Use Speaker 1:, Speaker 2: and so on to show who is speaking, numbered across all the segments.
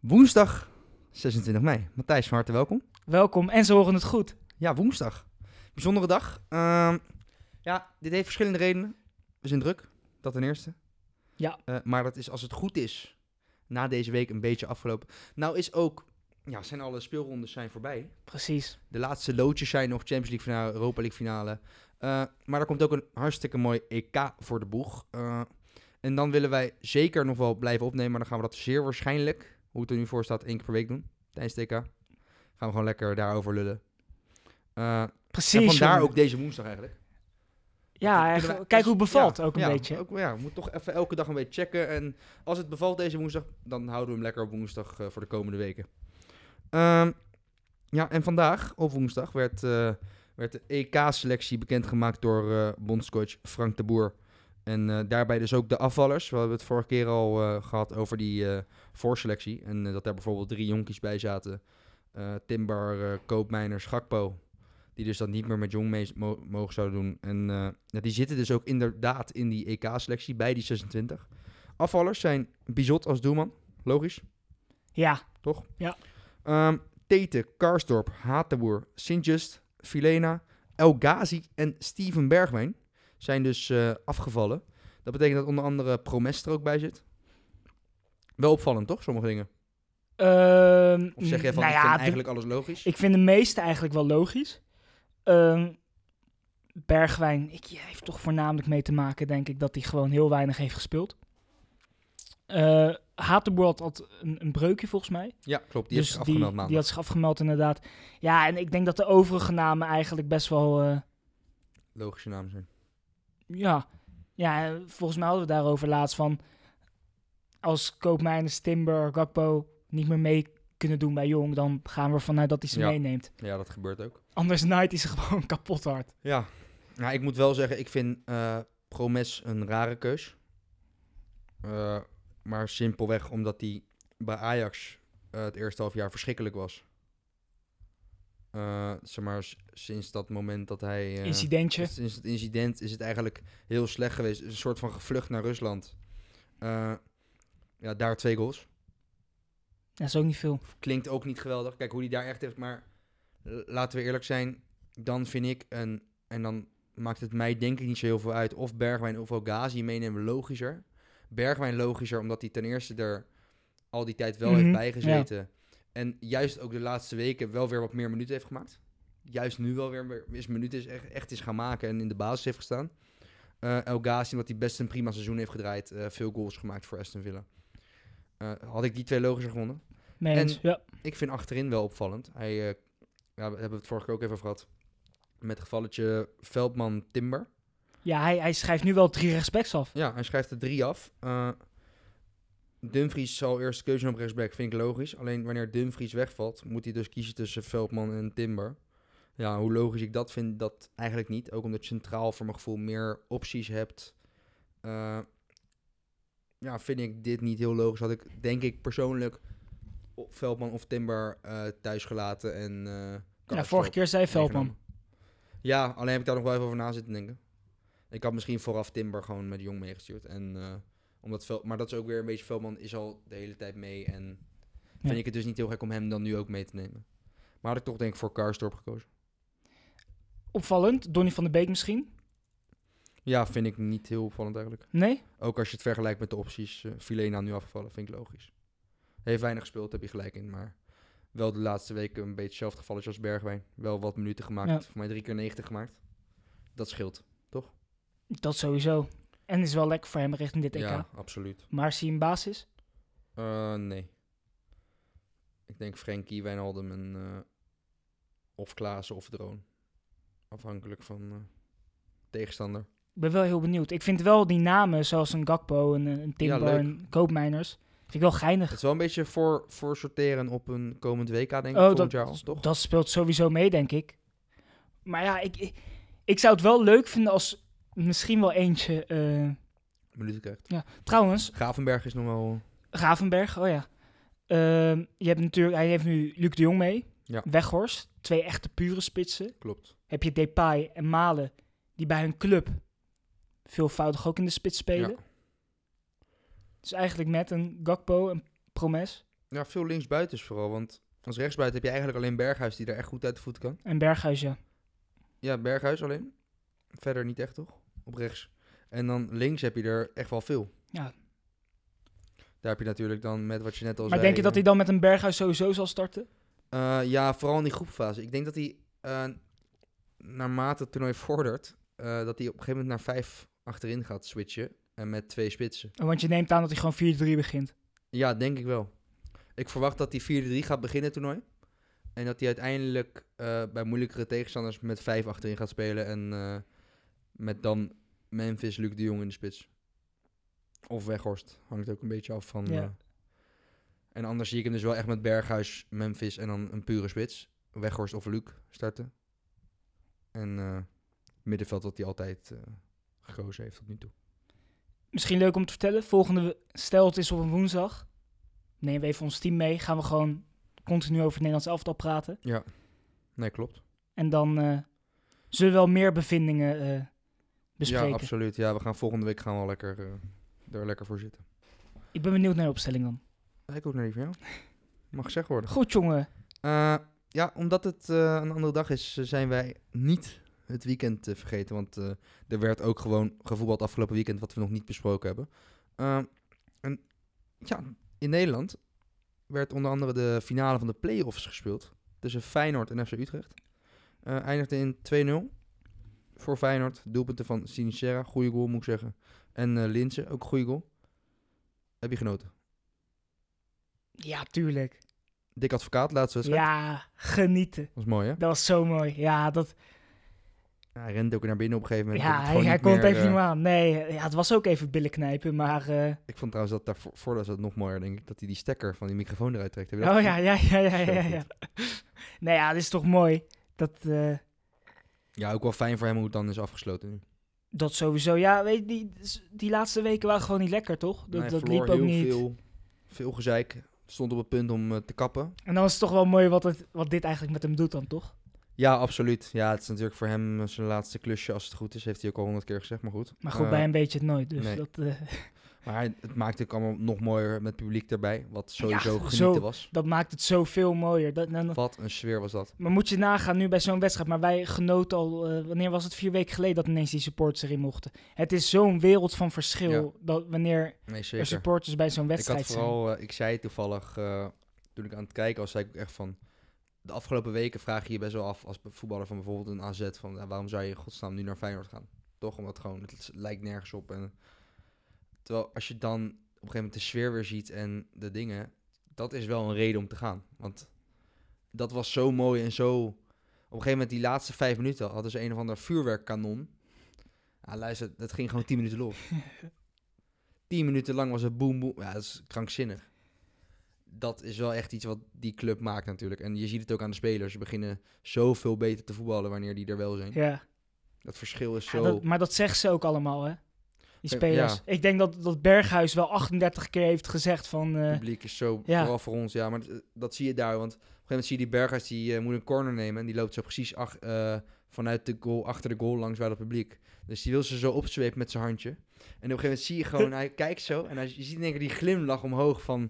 Speaker 1: Woensdag 26 mei. Matthijs, van harte welkom.
Speaker 2: Welkom en ze horen het goed.
Speaker 1: Ja, woensdag. Bijzondere dag. Ehm, ja, dit heeft verschillende redenen. We zijn druk, dat ten eerste.
Speaker 2: Ja.
Speaker 1: Eh, maar dat is als het goed is, na deze week een beetje afgelopen. Nou is ook, ja, zijn alle speelrondes zijn voorbij.
Speaker 2: Precies.
Speaker 1: De laatste loodjes zijn nog Champions League finale, Europa League finale. Eh, maar er komt ook een hartstikke mooi EK voor de boeg. Eh, en dan willen wij zeker nog wel blijven opnemen. Maar dan gaan we dat zeer waarschijnlijk, hoe het er nu voor staat, één keer per week doen. Tijdens het EK. Gaan we gewoon lekker daarover lullen. Eh,
Speaker 2: Precies.
Speaker 1: en vandaar
Speaker 2: jongen.
Speaker 1: ook deze woensdag eigenlijk.
Speaker 2: Ja,
Speaker 1: Want, eh,
Speaker 2: echt,
Speaker 1: kunnen we-
Speaker 2: kijk hoe het bevalt
Speaker 1: ja,
Speaker 2: ook een
Speaker 1: ja,
Speaker 2: beetje.
Speaker 1: Ook, ja, we moeten toch even elke dag een beetje checken. En als het bevalt deze woensdag, dan houden we hem lekker op woensdag eh, voor de komende weken. Ehm, ja, en vandaag, op woensdag, werd, eh, werd de EK-selectie bekendgemaakt door eh, bondscoach Frank de Boer. En eh, daarbij dus ook de afvallers. We hebben het vorige keer al eh, gehad over die eh, voorselectie. En eh, dat daar bijvoorbeeld drie jonkies bij zaten. Eh, Timbar, eh, Koopmijner, Schakpo. Die dus dat niet meer met jong mee mo- mogen zouden doen. En eh, ja, die zitten dus ook inderdaad in die EK-selectie bij die 26. Afvallers zijn Bizot als doelman. Logisch.
Speaker 2: Ja,
Speaker 1: Ehm Tete, Karsdorp, Hatenboer, Sint-Just, Filena, El Ghazi en Steven Bergwijn zijn dus eh, afgevallen. Dat betekent dat onder andere Promester ook bij zit. Wel opvallend, toch? Sommige dingen.
Speaker 2: Ehm,
Speaker 1: Of zeg jij van,
Speaker 2: nou
Speaker 1: ik
Speaker 2: ja,
Speaker 1: vind
Speaker 2: de-
Speaker 1: eigenlijk alles logisch?
Speaker 2: ik vind de meeste eigenlijk wel logisch. Ehm, Bergwijn ik, ja, heeft toch voornamelijk mee te maken, denk ik, dat hij gewoon heel weinig heeft gespeeld. Eh Hatenboer had, had een, een breukje volgens mij.
Speaker 1: Ja, klopt. Die is
Speaker 2: dus
Speaker 1: heeft zich
Speaker 2: die,
Speaker 1: afgemeld maandag.
Speaker 2: die had zich afgemeld inderdaad. Ja, en ik denk dat de overige namen eigenlijk best wel... eh,
Speaker 1: Logische naam zijn.
Speaker 2: Ja. ja, eh, volgens mij hadden we het daarover laatst van... als Koopmijners, Timber, Gakpo niet meer mee kunnen doen bij Jong... dan gaan we ervan uit dat hij ze
Speaker 1: Ja.
Speaker 2: meeneemt.
Speaker 1: Ja, dat gebeurt ook.
Speaker 2: Anders naait hij ze gewoon kapot hard.
Speaker 1: Ja. Nou, ik moet wel zeggen, ik vind eh, Promes een rare keus. Eh, maar simpelweg omdat hij bij Ajax eh, het eerste half jaar verschrikkelijk was. Eh, zeg maar, s- sinds dat moment dat hij... eh,
Speaker 2: Incidentje.
Speaker 1: Sinds het incident is het eigenlijk heel slecht geweest. Het is Een soort van gevlucht naar Rusland. Eh, ja, daar twee goals
Speaker 2: Dat is ook niet veel.
Speaker 1: klinkt ook niet geweldig. Kijk hoe die daar echt heeft. Maar eh, laten we eerlijk zijn. Dan vind ik een. En dan maakt het mij denk ik niet zo heel veel uit. Of Bergwijn of Ogazi meenemen logischer. Bergwijn logischer, omdat hij ten eerste er al die tijd wel
Speaker 2: Mhm,
Speaker 1: heeft bijgezeten. En juist ook de laatste weken wel weer wat meer minuten heeft gemaakt. Juist nu wel weer meer- is minuten is echt, echt is gaan maken en in de basis heeft gestaan. Eh El Ghazi, omdat hij best een prima seizoen heeft gedraaid. eh, veel goals gemaakt voor Aston Villa. Eh, had ik die twee logischer gewonnen?
Speaker 2: Mee eens.
Speaker 1: En-
Speaker 2: ja.
Speaker 1: Ik vind achterin wel opvallend. Hij, eh, ja, we hebben het vorige keer ook even over gehad. Met het gevalletje Veldman Timber.
Speaker 2: ja, hij, hij schrijft nu wel drie respects af.
Speaker 1: Ja, hij schrijft er drie af. Eh, Dumfries zal eerst keuze zijn op rechtsback, vind ik logisch. Alleen wanneer Dumfries wegvalt, moet hij dus kiezen tussen Veldman en Timber. Ja, hoe logisch ik dat vind, dat eigenlijk niet. Ook omdat je centraal voor mijn gevoel meer opties hebt. Eh, ja, vind ik dit niet heel logisch. Had ik denk ik persoonlijk o- Veldman of Timber eh thuisgelaten en... eh,
Speaker 2: Ja,
Speaker 1: Karstorp
Speaker 2: vorige keer zei Veldman.
Speaker 1: meegenomen. Ja, alleen heb ik daar nog wel even over na zitten denken. Ik had misschien vooraf Timber gewoon met Jong meegestuurd. En, eh, omdat Vel- maar dat is ook weer een beetje Veldman is al de hele tijd mee. En
Speaker 2: Ja.
Speaker 1: vind ik het dus niet heel gek om hem dan nu ook mee te nemen. Maar had ik toch denk ik voor Karstorp gekozen.
Speaker 2: Opvallend. Donny van de Beek misschien?
Speaker 1: Ja, vind ik niet heel opvallend eigenlijk.
Speaker 2: Nee?
Speaker 1: Ook als je het vergelijkt met de opties. eh Filena nu afgevallen, vind ik logisch. Heeft weinig gespeeld, heb je gelijk in. Maar wel de laatste weken een beetje hetzelfde gevalletje als Bergwijn. Wel wat minuten gemaakt.
Speaker 2: Ja.
Speaker 1: Voor mij drie keer 90 gemaakt. Dat scheelt.
Speaker 2: Dat sowieso. En is wel lekker voor hem richting dit EK.
Speaker 1: Ja, absoluut.
Speaker 2: Maar zie je een basis?
Speaker 1: Eh, nee. Ik denk Frenkie, Wijnaldum en... eh, of Klaassen of Droon. Afhankelijk van eh, tegenstander.
Speaker 2: Ik ben wel heel benieuwd. Ik vind wel die namen, zoals een Gakpo, een, een Timber,
Speaker 1: leuk.
Speaker 2: een Koopmijners... Vind ik wel geinig.
Speaker 1: Het is wel een beetje voor, voor sorteren op een komend WK, denk ik,
Speaker 2: Oh,
Speaker 1: volgend
Speaker 2: dat-
Speaker 1: jaar al, toch?
Speaker 2: Dat speelt sowieso mee, denk ik. Maar ja, ik, ik, ik zou het wel leuk vinden als misschien wel eentje. eh,
Speaker 1: Minuten krijgt.
Speaker 2: ja. Trouwens,
Speaker 1: Gravenberg is nog wel... eh,
Speaker 2: Ravenberg, oh ja. Ehm, je hebt natuurlijk, hij heeft nu Luc de Jong mee.
Speaker 1: Ja.
Speaker 2: Weghorst, twee echte pure spitsen.
Speaker 1: Klopt.
Speaker 2: Heb je Depay en Malen, die bij hun club veelvoudig ook in de spits spelen.
Speaker 1: Ja.
Speaker 2: Dus eigenlijk met een Gakpo, een Promes
Speaker 1: ja, veel linksbuitens vooral, want als rechtsbuiten heb je eigenlijk alleen Berghuis die er echt goed uit de voet kan.
Speaker 2: en Berghuis, ja.
Speaker 1: Ja, Berghuis alleen. Verder niet echt, toch? Op rechts. En dan links heb je er echt wel veel.
Speaker 2: Ja.
Speaker 1: Daar heb je natuurlijk dan met wat je net al
Speaker 2: Maar
Speaker 1: zei...
Speaker 2: denk je dat hij dan met een Berghuis sowieso zal starten?
Speaker 1: Eh, ja, vooral in die groepfase. Ik denk dat hij eh, naarmate het toernooi vordert, eh, dat hij op een gegeven moment naar vijf achterin gaat switchen. En met twee spitsen.
Speaker 2: Want je neemt aan dat hij gewoon 4-3 begint.
Speaker 1: Ja, denk ik wel. Ik verwacht dat hij 4-3 gaat beginnen het toernooi. En dat hij uiteindelijk eh, bij moeilijkere tegenstanders met vijf achterin gaat spelen. En eh, met dan Memphis, Luc de Jong in de spits. Of Weghorst. Hangt ook een beetje af van...
Speaker 2: Ja.
Speaker 1: eh, en anders zie ik hem dus wel echt met Berghuis, Memphis en dan een pure spits. Weghorst of Luc starten. En eh, middenveld dat hij altijd eh, gekozen heeft tot nu toe.
Speaker 2: Misschien leuk om te vertellen. Volgende, we- stel het is op een woensdag. Nemen we even ons team mee. Gaan we gewoon continu over het Nederlands elftal praten.
Speaker 1: Nee, klopt.
Speaker 2: En dan eh, zullen we wel meer bevindingen eh,
Speaker 1: Ja,
Speaker 2: bespreken.
Speaker 1: absoluut. Ja, we gaan volgende week gaan we lekker, eh er lekker voor zitten.
Speaker 2: ik ben benieuwd naar de opstelling dan.
Speaker 1: Ik ook naar die van jou. Mag gezegd worden.
Speaker 2: Goed jongen.
Speaker 1: Eh, ja, omdat het eh, een andere dag is, eh, zijn wij niet het weekend eh, vergeten. Want eh, er werd ook gewoon gevoetbald afgelopen weekend, wat we nog niet besproken hebben. Eh, en ja, in Nederland werd onder andere de finale van de play-offs gespeeld. Tussen Feyenoord en FC Utrecht. Eh, eindigde in 2-0 voor Feyenoord. Doelpunten van Sinicera, goede goal moet ik zeggen. En eh Linse, ook goede goal. Heb je genoten?
Speaker 2: Ja, tuurlijk.
Speaker 1: Dick Advocaat, laatste wedstrijd.
Speaker 2: Ja, genieten.
Speaker 1: was mooi, hè?
Speaker 2: Dat was zo mooi. Ja, dat,
Speaker 1: Ja, hij rent ook naar binnen op een gegeven moment.
Speaker 2: ja
Speaker 1: dat het
Speaker 2: hij,
Speaker 1: gewoon
Speaker 2: hij
Speaker 1: niet
Speaker 2: kon het
Speaker 1: meer,
Speaker 2: even
Speaker 1: eh,
Speaker 2: niet meer aan. Nee, ja, het was ook even billen knijpen, maar... eh,
Speaker 1: Ik vond trouwens dat daarvoor voor was dat nog mooier, denk ik. Dat hij die stekker van die microfoon eruit trekt. Heb je dat
Speaker 2: Oh
Speaker 1: gezien?
Speaker 2: ja, ja, ja, ja, ja,
Speaker 1: Zo
Speaker 2: ja.
Speaker 1: goed.
Speaker 2: ja. nee, ja, dit is toch mooi. Dat, eh,
Speaker 1: Ja, ook wel fijn voor hem hoe het dan is afgesloten nu.
Speaker 2: dat sowieso. Ja, weet je, die, die laatste weken waren gewoon niet lekker, toch? Dat,
Speaker 1: Hij
Speaker 2: dat
Speaker 1: verloor
Speaker 2: liep ook
Speaker 1: heel
Speaker 2: niet.
Speaker 1: Veel, veel gezeik. Stond op het punt om eh, te kappen.
Speaker 2: En dan is het toch wel mooi wat, het, wat dit eigenlijk met hem doet dan, toch?
Speaker 1: Ja, absoluut. Ja, het is natuurlijk voor hem eh, zijn laatste klusje als het goed is. Heeft hij ook al honderd keer gezegd, maar goed.
Speaker 2: Maar goed,
Speaker 1: Eh,
Speaker 2: bij hem weet je het nooit. Dus
Speaker 1: nee.
Speaker 2: dat, eh,
Speaker 1: Maar hij- het maakte ook allemaal nog mooier met publiek erbij. Wat sowieso
Speaker 2: zo-
Speaker 1: genieten was.
Speaker 2: dat maakt het zoveel mooier. Dat, dan- dan-
Speaker 1: Wat een sfeer was dat.
Speaker 2: maar moet je nagaan nu bij zo'n wedstrijd. Maar wij genoten al, eh, wanneer was het? Vier weken geleden dat ineens die supporters erin mochten. Het is zo'n wereld van verschil dat wanneer
Speaker 1: Nee,
Speaker 2: er
Speaker 1: zeker.
Speaker 2: supporters bij zo'n
Speaker 1: Ik had
Speaker 2: wedstrijd zijn.
Speaker 1: vooral, eh, ik zei toevallig eh, toen ik aan het kijken was, zei ik ook echt van. De afgelopen weken vraag je je best wel af als be- voetballer van bijvoorbeeld een AZ van ja, waarom zou je in godsnaam nu naar Feyenoord gaan? Toch omdat gewoon het s- lijkt nergens op en terwijl als je dan op een gegeven moment de sfeer weer ziet en de dingen, dat is wel een reden om te gaan, want dat was zo mooi en zo. Op een gegeven moment die laatste vijf minuten hadden ze een of ander vuurwerkkanon. Ja, luister, dat ging gewoon tien minuten los. tien minuten lang was het boem boem. Ja, dat is krankzinnig dat is wel echt iets wat die club maakt natuurlijk. En je ziet het ook aan de spelers. Ze beginnen zoveel beter te voetballen wanneer die er wel zijn.
Speaker 2: Ja.
Speaker 1: Dat verschil is
Speaker 2: Ja,
Speaker 1: zo...
Speaker 2: dat- maar dat zegt ze ook allemaal, hè? Die
Speaker 1: Eh,
Speaker 2: spelers.
Speaker 1: ja.
Speaker 2: Ik denk dat, dat Berghuis wel 38 keer heeft gezegd van... eh,
Speaker 1: Het publiek is zo,
Speaker 2: ja.
Speaker 1: vooral voor ons, ja. Maar dat, dat zie je daar, want op een gegeven moment zie je die Berghuis, die eh, moet een corner nemen. En die loopt zo precies ach- eh, vanuit de goal, achter de goal langs bij dat publiek. Dus die wil ze zo opzwepen met zijn handje. En op een gegeven moment zie je gewoon, hij kijkt zo. En hij, je ziet in één keer die glimlach omhoog van,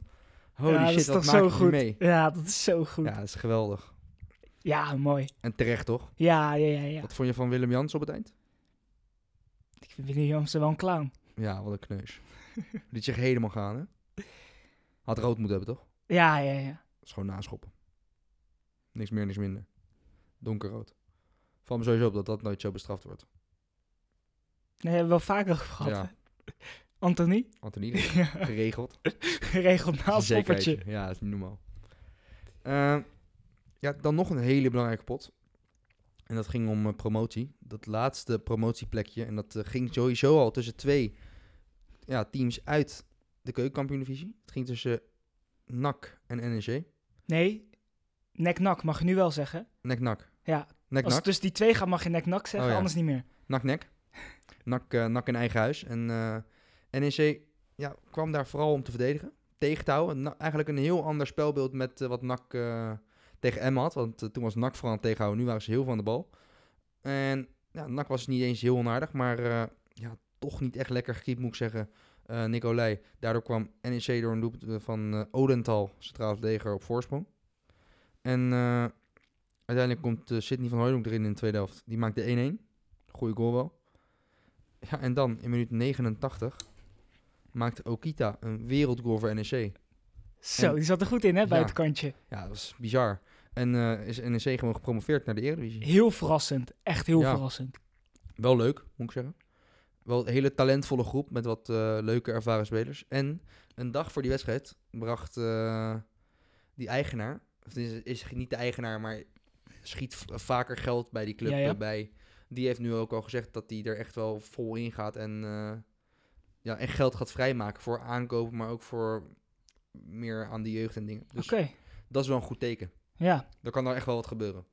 Speaker 1: holy
Speaker 2: ja,
Speaker 1: shit, wat maak ik hier
Speaker 2: goed.
Speaker 1: mee?
Speaker 2: Ja, dat is zo goed.
Speaker 1: Ja,
Speaker 2: Ja,
Speaker 1: dat is geweldig.
Speaker 2: mooi.
Speaker 1: En terecht, toch?
Speaker 2: Ja, ja, ja. ja.
Speaker 1: Wat vond je van Willem Jans op het eind?
Speaker 2: Ik vind Willy Jansen wel een clown.
Speaker 1: Ja, wat een kneus. Liet zich helemaal gaan, hè? Had rood moeten hebben, toch?
Speaker 2: Ja, ja, ja.
Speaker 1: Dat is gewoon naschoppen. Niks meer, niks minder. Donkerrood. Valt me sowieso op dat dat nooit zo bestraft wordt.
Speaker 2: Dat hebben we wel vaker over gehad. hè?
Speaker 1: Ja,
Speaker 2: Anthony?
Speaker 1: Antonie,
Speaker 2: Ja,
Speaker 1: geregeld.
Speaker 2: Geregeld naast
Speaker 1: Zekerheidje.
Speaker 2: oppertje.
Speaker 1: Ja, dat is niet normaal. Eh, ja, dan nog een hele belangrijke pot. En dat ging om eh, promotie. Dat laatste promotieplekje. En dat eh, ging sowieso al tussen twee ja, teams uit de keukenkampioen-divisie. Het ging tussen NAC en NEC.
Speaker 2: Nee, nek-nak mag je nu wel zeggen.
Speaker 1: Nek-nak.
Speaker 2: Ja, als het
Speaker 1: Nek-nak.
Speaker 2: tussen die twee gaat mag je nek-nak zeggen,
Speaker 1: Oh ja.
Speaker 2: anders niet meer.
Speaker 1: Nak-nek. Nak, eh, nak in eigen huis. En eh, NEC ja, kwam daar vooral om te verdedigen. Tegen te houden. Na- eigenlijk een heel ander spelbeeld met eh, wat NAC eh, tegen Emmen had. Want eh, toen was NAC vooral aan het tegenhouden. Nu waren ze heel van de bal. En ja, NAC was niet eens heel onaardig. Maar eh, ja, toch niet echt lekker gekiept moet ik zeggen. eh Nicolai. Daardoor kwam NEC door een doelpunt van eh, Odental, centraal leger, op voorsprong. En eh, uiteindelijk komt eh, Sidney van Hooydonk erin in de tweede helft. Die maakt de 1-1. Goeie goal wel. Ja, en dan in minuut 89 maakt Okita een wereldgoal voor E NEC.
Speaker 2: Zo,
Speaker 1: En-
Speaker 2: die zat er goed in, hè,
Speaker 1: Ja.
Speaker 2: bij het kantje.
Speaker 1: Ja, dat was bizar. En eh, is NEC gewoon gepromoveerd naar de Eredivisie.
Speaker 2: Heel verrassend, echt heel
Speaker 1: Ja.
Speaker 2: verrassend.
Speaker 1: Wel leuk, moet ik zeggen. Wel een hele talentvolle groep met wat eh, leuke ervaren spelers. En een dag voor die wedstrijd bracht eh, die eigenaar, of is, is niet de eigenaar, maar schiet v- vaker geld bij die club
Speaker 2: Ja, ja.
Speaker 1: eh, bij. Die heeft nu ook al gezegd dat hij er echt wel vol in gaat en, eh, ja, en geld gaat vrijmaken voor aankopen, maar ook voor meer aan de jeugd en dingen. Dus
Speaker 2: Oké,
Speaker 1: dat is wel een goed teken.
Speaker 2: ja.
Speaker 1: Er kan daar echt wel wat gebeuren.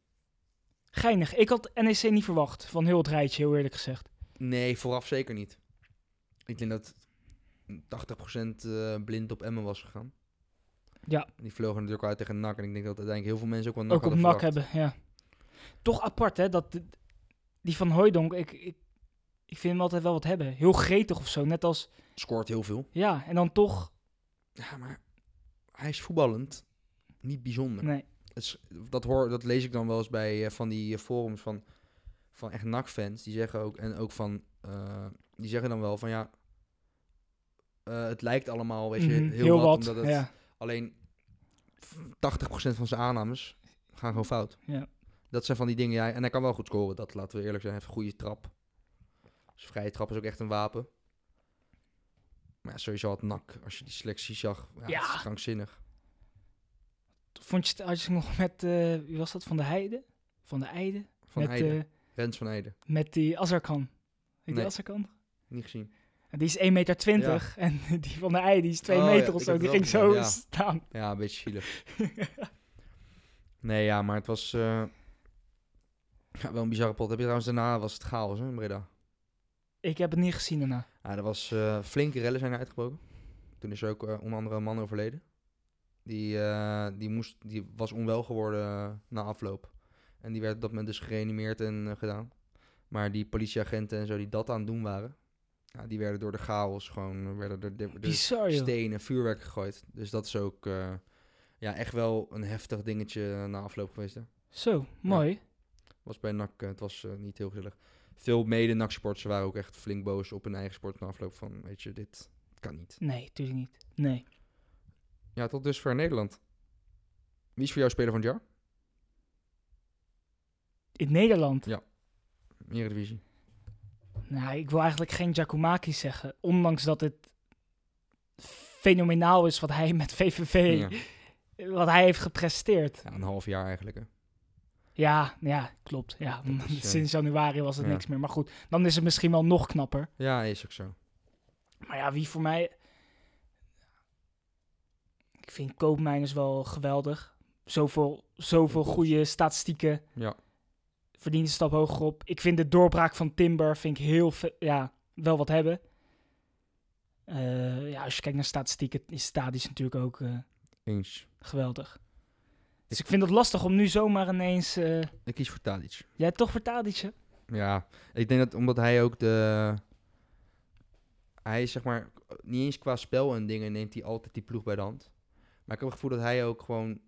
Speaker 2: Geinig. Ik had NEC niet verwacht van heel het rijtje, heel eerlijk gezegd.
Speaker 1: Nee, vooraf zeker niet. Ik denk dat 80% eh, blind op Emmen was gegaan.
Speaker 2: Ja.
Speaker 1: Die vlogen natuurlijk uit tegen NAC. En ik denk dat uiteindelijk heel veel mensen ook wel NAC
Speaker 2: ook op
Speaker 1: hadden
Speaker 2: nak
Speaker 1: verwacht.
Speaker 2: hebben, ja. Toch apart, hè, dat de- die van Hooijdonk, ik, ik, ik vind hem altijd wel wat hebben. Heel gretig of zo, net als,
Speaker 1: Scoort heel veel.
Speaker 2: ja, en dan toch,
Speaker 1: Ja, maar hij is voetballend niet bijzonder.
Speaker 2: nee.
Speaker 1: Het is- dat, hoor, dat lees ik dan wel eens bij eh, van die eh, forums van, van echt NAC-fans. Die zeggen ook, en ook van, eh, die zeggen dan wel van ja, eh, het lijkt allemaal, weet je,
Speaker 2: Mhm,
Speaker 1: heel, wat. omdat het,
Speaker 2: ja.
Speaker 1: Alleen 80% van zijn aannames gaan gewoon fout.
Speaker 2: Ja.
Speaker 1: Dat zijn van die dingen. Ja, en hij kan wel goed scoren, dat laten we eerlijk zijn. Hij heeft een goede trap. Dus vrije trap is ook echt een wapen. Maar ja, sowieso had NAC, als je die selectie zag, ja,
Speaker 2: Ja.
Speaker 1: Het is krankzinnig.
Speaker 2: Vond je het, had je het nog met, eh, wie was dat, Van de Heide? Van de Eide?
Speaker 1: Van
Speaker 2: met,
Speaker 1: Eijden,
Speaker 2: eh,
Speaker 1: Rens van Eijden,
Speaker 2: met die Azarkan. Heet
Speaker 1: Nee.
Speaker 2: die Azarkan?
Speaker 1: niet gezien.
Speaker 2: En Die is 1,20 meter en die van de Eide die is 2
Speaker 1: Oh, ja,
Speaker 2: meter of
Speaker 1: ik
Speaker 2: zo.
Speaker 1: heb
Speaker 2: Die
Speaker 1: het
Speaker 2: ging
Speaker 1: ook
Speaker 2: zo
Speaker 1: gezien, ja.
Speaker 2: staan.
Speaker 1: Ja, een beetje zielig. nee, ja, maar het was eh, ja, wel een bizarre pot. Heb je trouwens daarna, was het chaos hè, in Breda.
Speaker 2: Ik heb het niet gezien daarna.
Speaker 1: Ja, er was eh, flinke rellen zijn er uitgebroken. Toen is er ook eh, onder andere een man overleden. Die, eh, die, moest, die was onwel geworden eh, na afloop. En die werd op dat moment dus gereanimeerd en eh, gedaan. Maar die politieagenten en zo die dat aan het doen waren... Ja, die werden door de chaos gewoon... eh, werden er de, de
Speaker 2: Bizar, joh.
Speaker 1: stenen, vuurwerk gegooid. Dus dat is ook eh, ja, echt wel een heftig dingetje eh, na afloop geweest. Hè.
Speaker 2: Zo, mooi.
Speaker 1: Was bij NAC, eh, het was eh, niet heel gezellig. Veel mede nac supporters waren ook echt flink boos op hun eigen sport na afloop van, weet je, dit kan niet.
Speaker 2: Nee, natuurlijk niet. Nee.
Speaker 1: Ja, tot dusver Nederland. Wie is voor jou speler van het jaar?
Speaker 2: In Nederland.
Speaker 1: Eredivisie.
Speaker 2: Nou, ik wil eigenlijk geen Giacomakis zeggen. Ondanks dat het fenomenaal is wat hij met VVV,
Speaker 1: Ja.
Speaker 2: wat hij heeft gepresteerd.
Speaker 1: Ja, een half jaar eigenlijk. Hè.
Speaker 2: Ja, ja, klopt. Ja,
Speaker 1: Dat is, eh,
Speaker 2: sinds januari was het
Speaker 1: ja.
Speaker 2: niks meer. Maar goed, dan is het misschien wel nog knapper.
Speaker 1: Ja, is ook zo.
Speaker 2: Maar ja, wie voor mij... Ik vind Koopmijners wel geweldig. Zoveel, zoveel
Speaker 1: Klopt.
Speaker 2: goede statistieken.
Speaker 1: Ja.
Speaker 2: Verdient een stap hoger op. Ik vind de doorbraak van Timber vind ik heel ve- ja, wel wat hebben. Eh, ja, als je kijkt naar statistieken, is Stadis natuurlijk ook eh,
Speaker 1: Eens.
Speaker 2: geweldig. Dus ik vind het lastig om nu zomaar ineens... eh,
Speaker 1: Ik kies voor Tadic.
Speaker 2: jij hebt toch voor Tadic,
Speaker 1: Ja, ik denk dat omdat hij ook de... Hij is zeg maar, niet eens qua spel en dingen neemt hij altijd die ploeg bij de hand. Maar ik heb het gevoel dat hij ook gewoon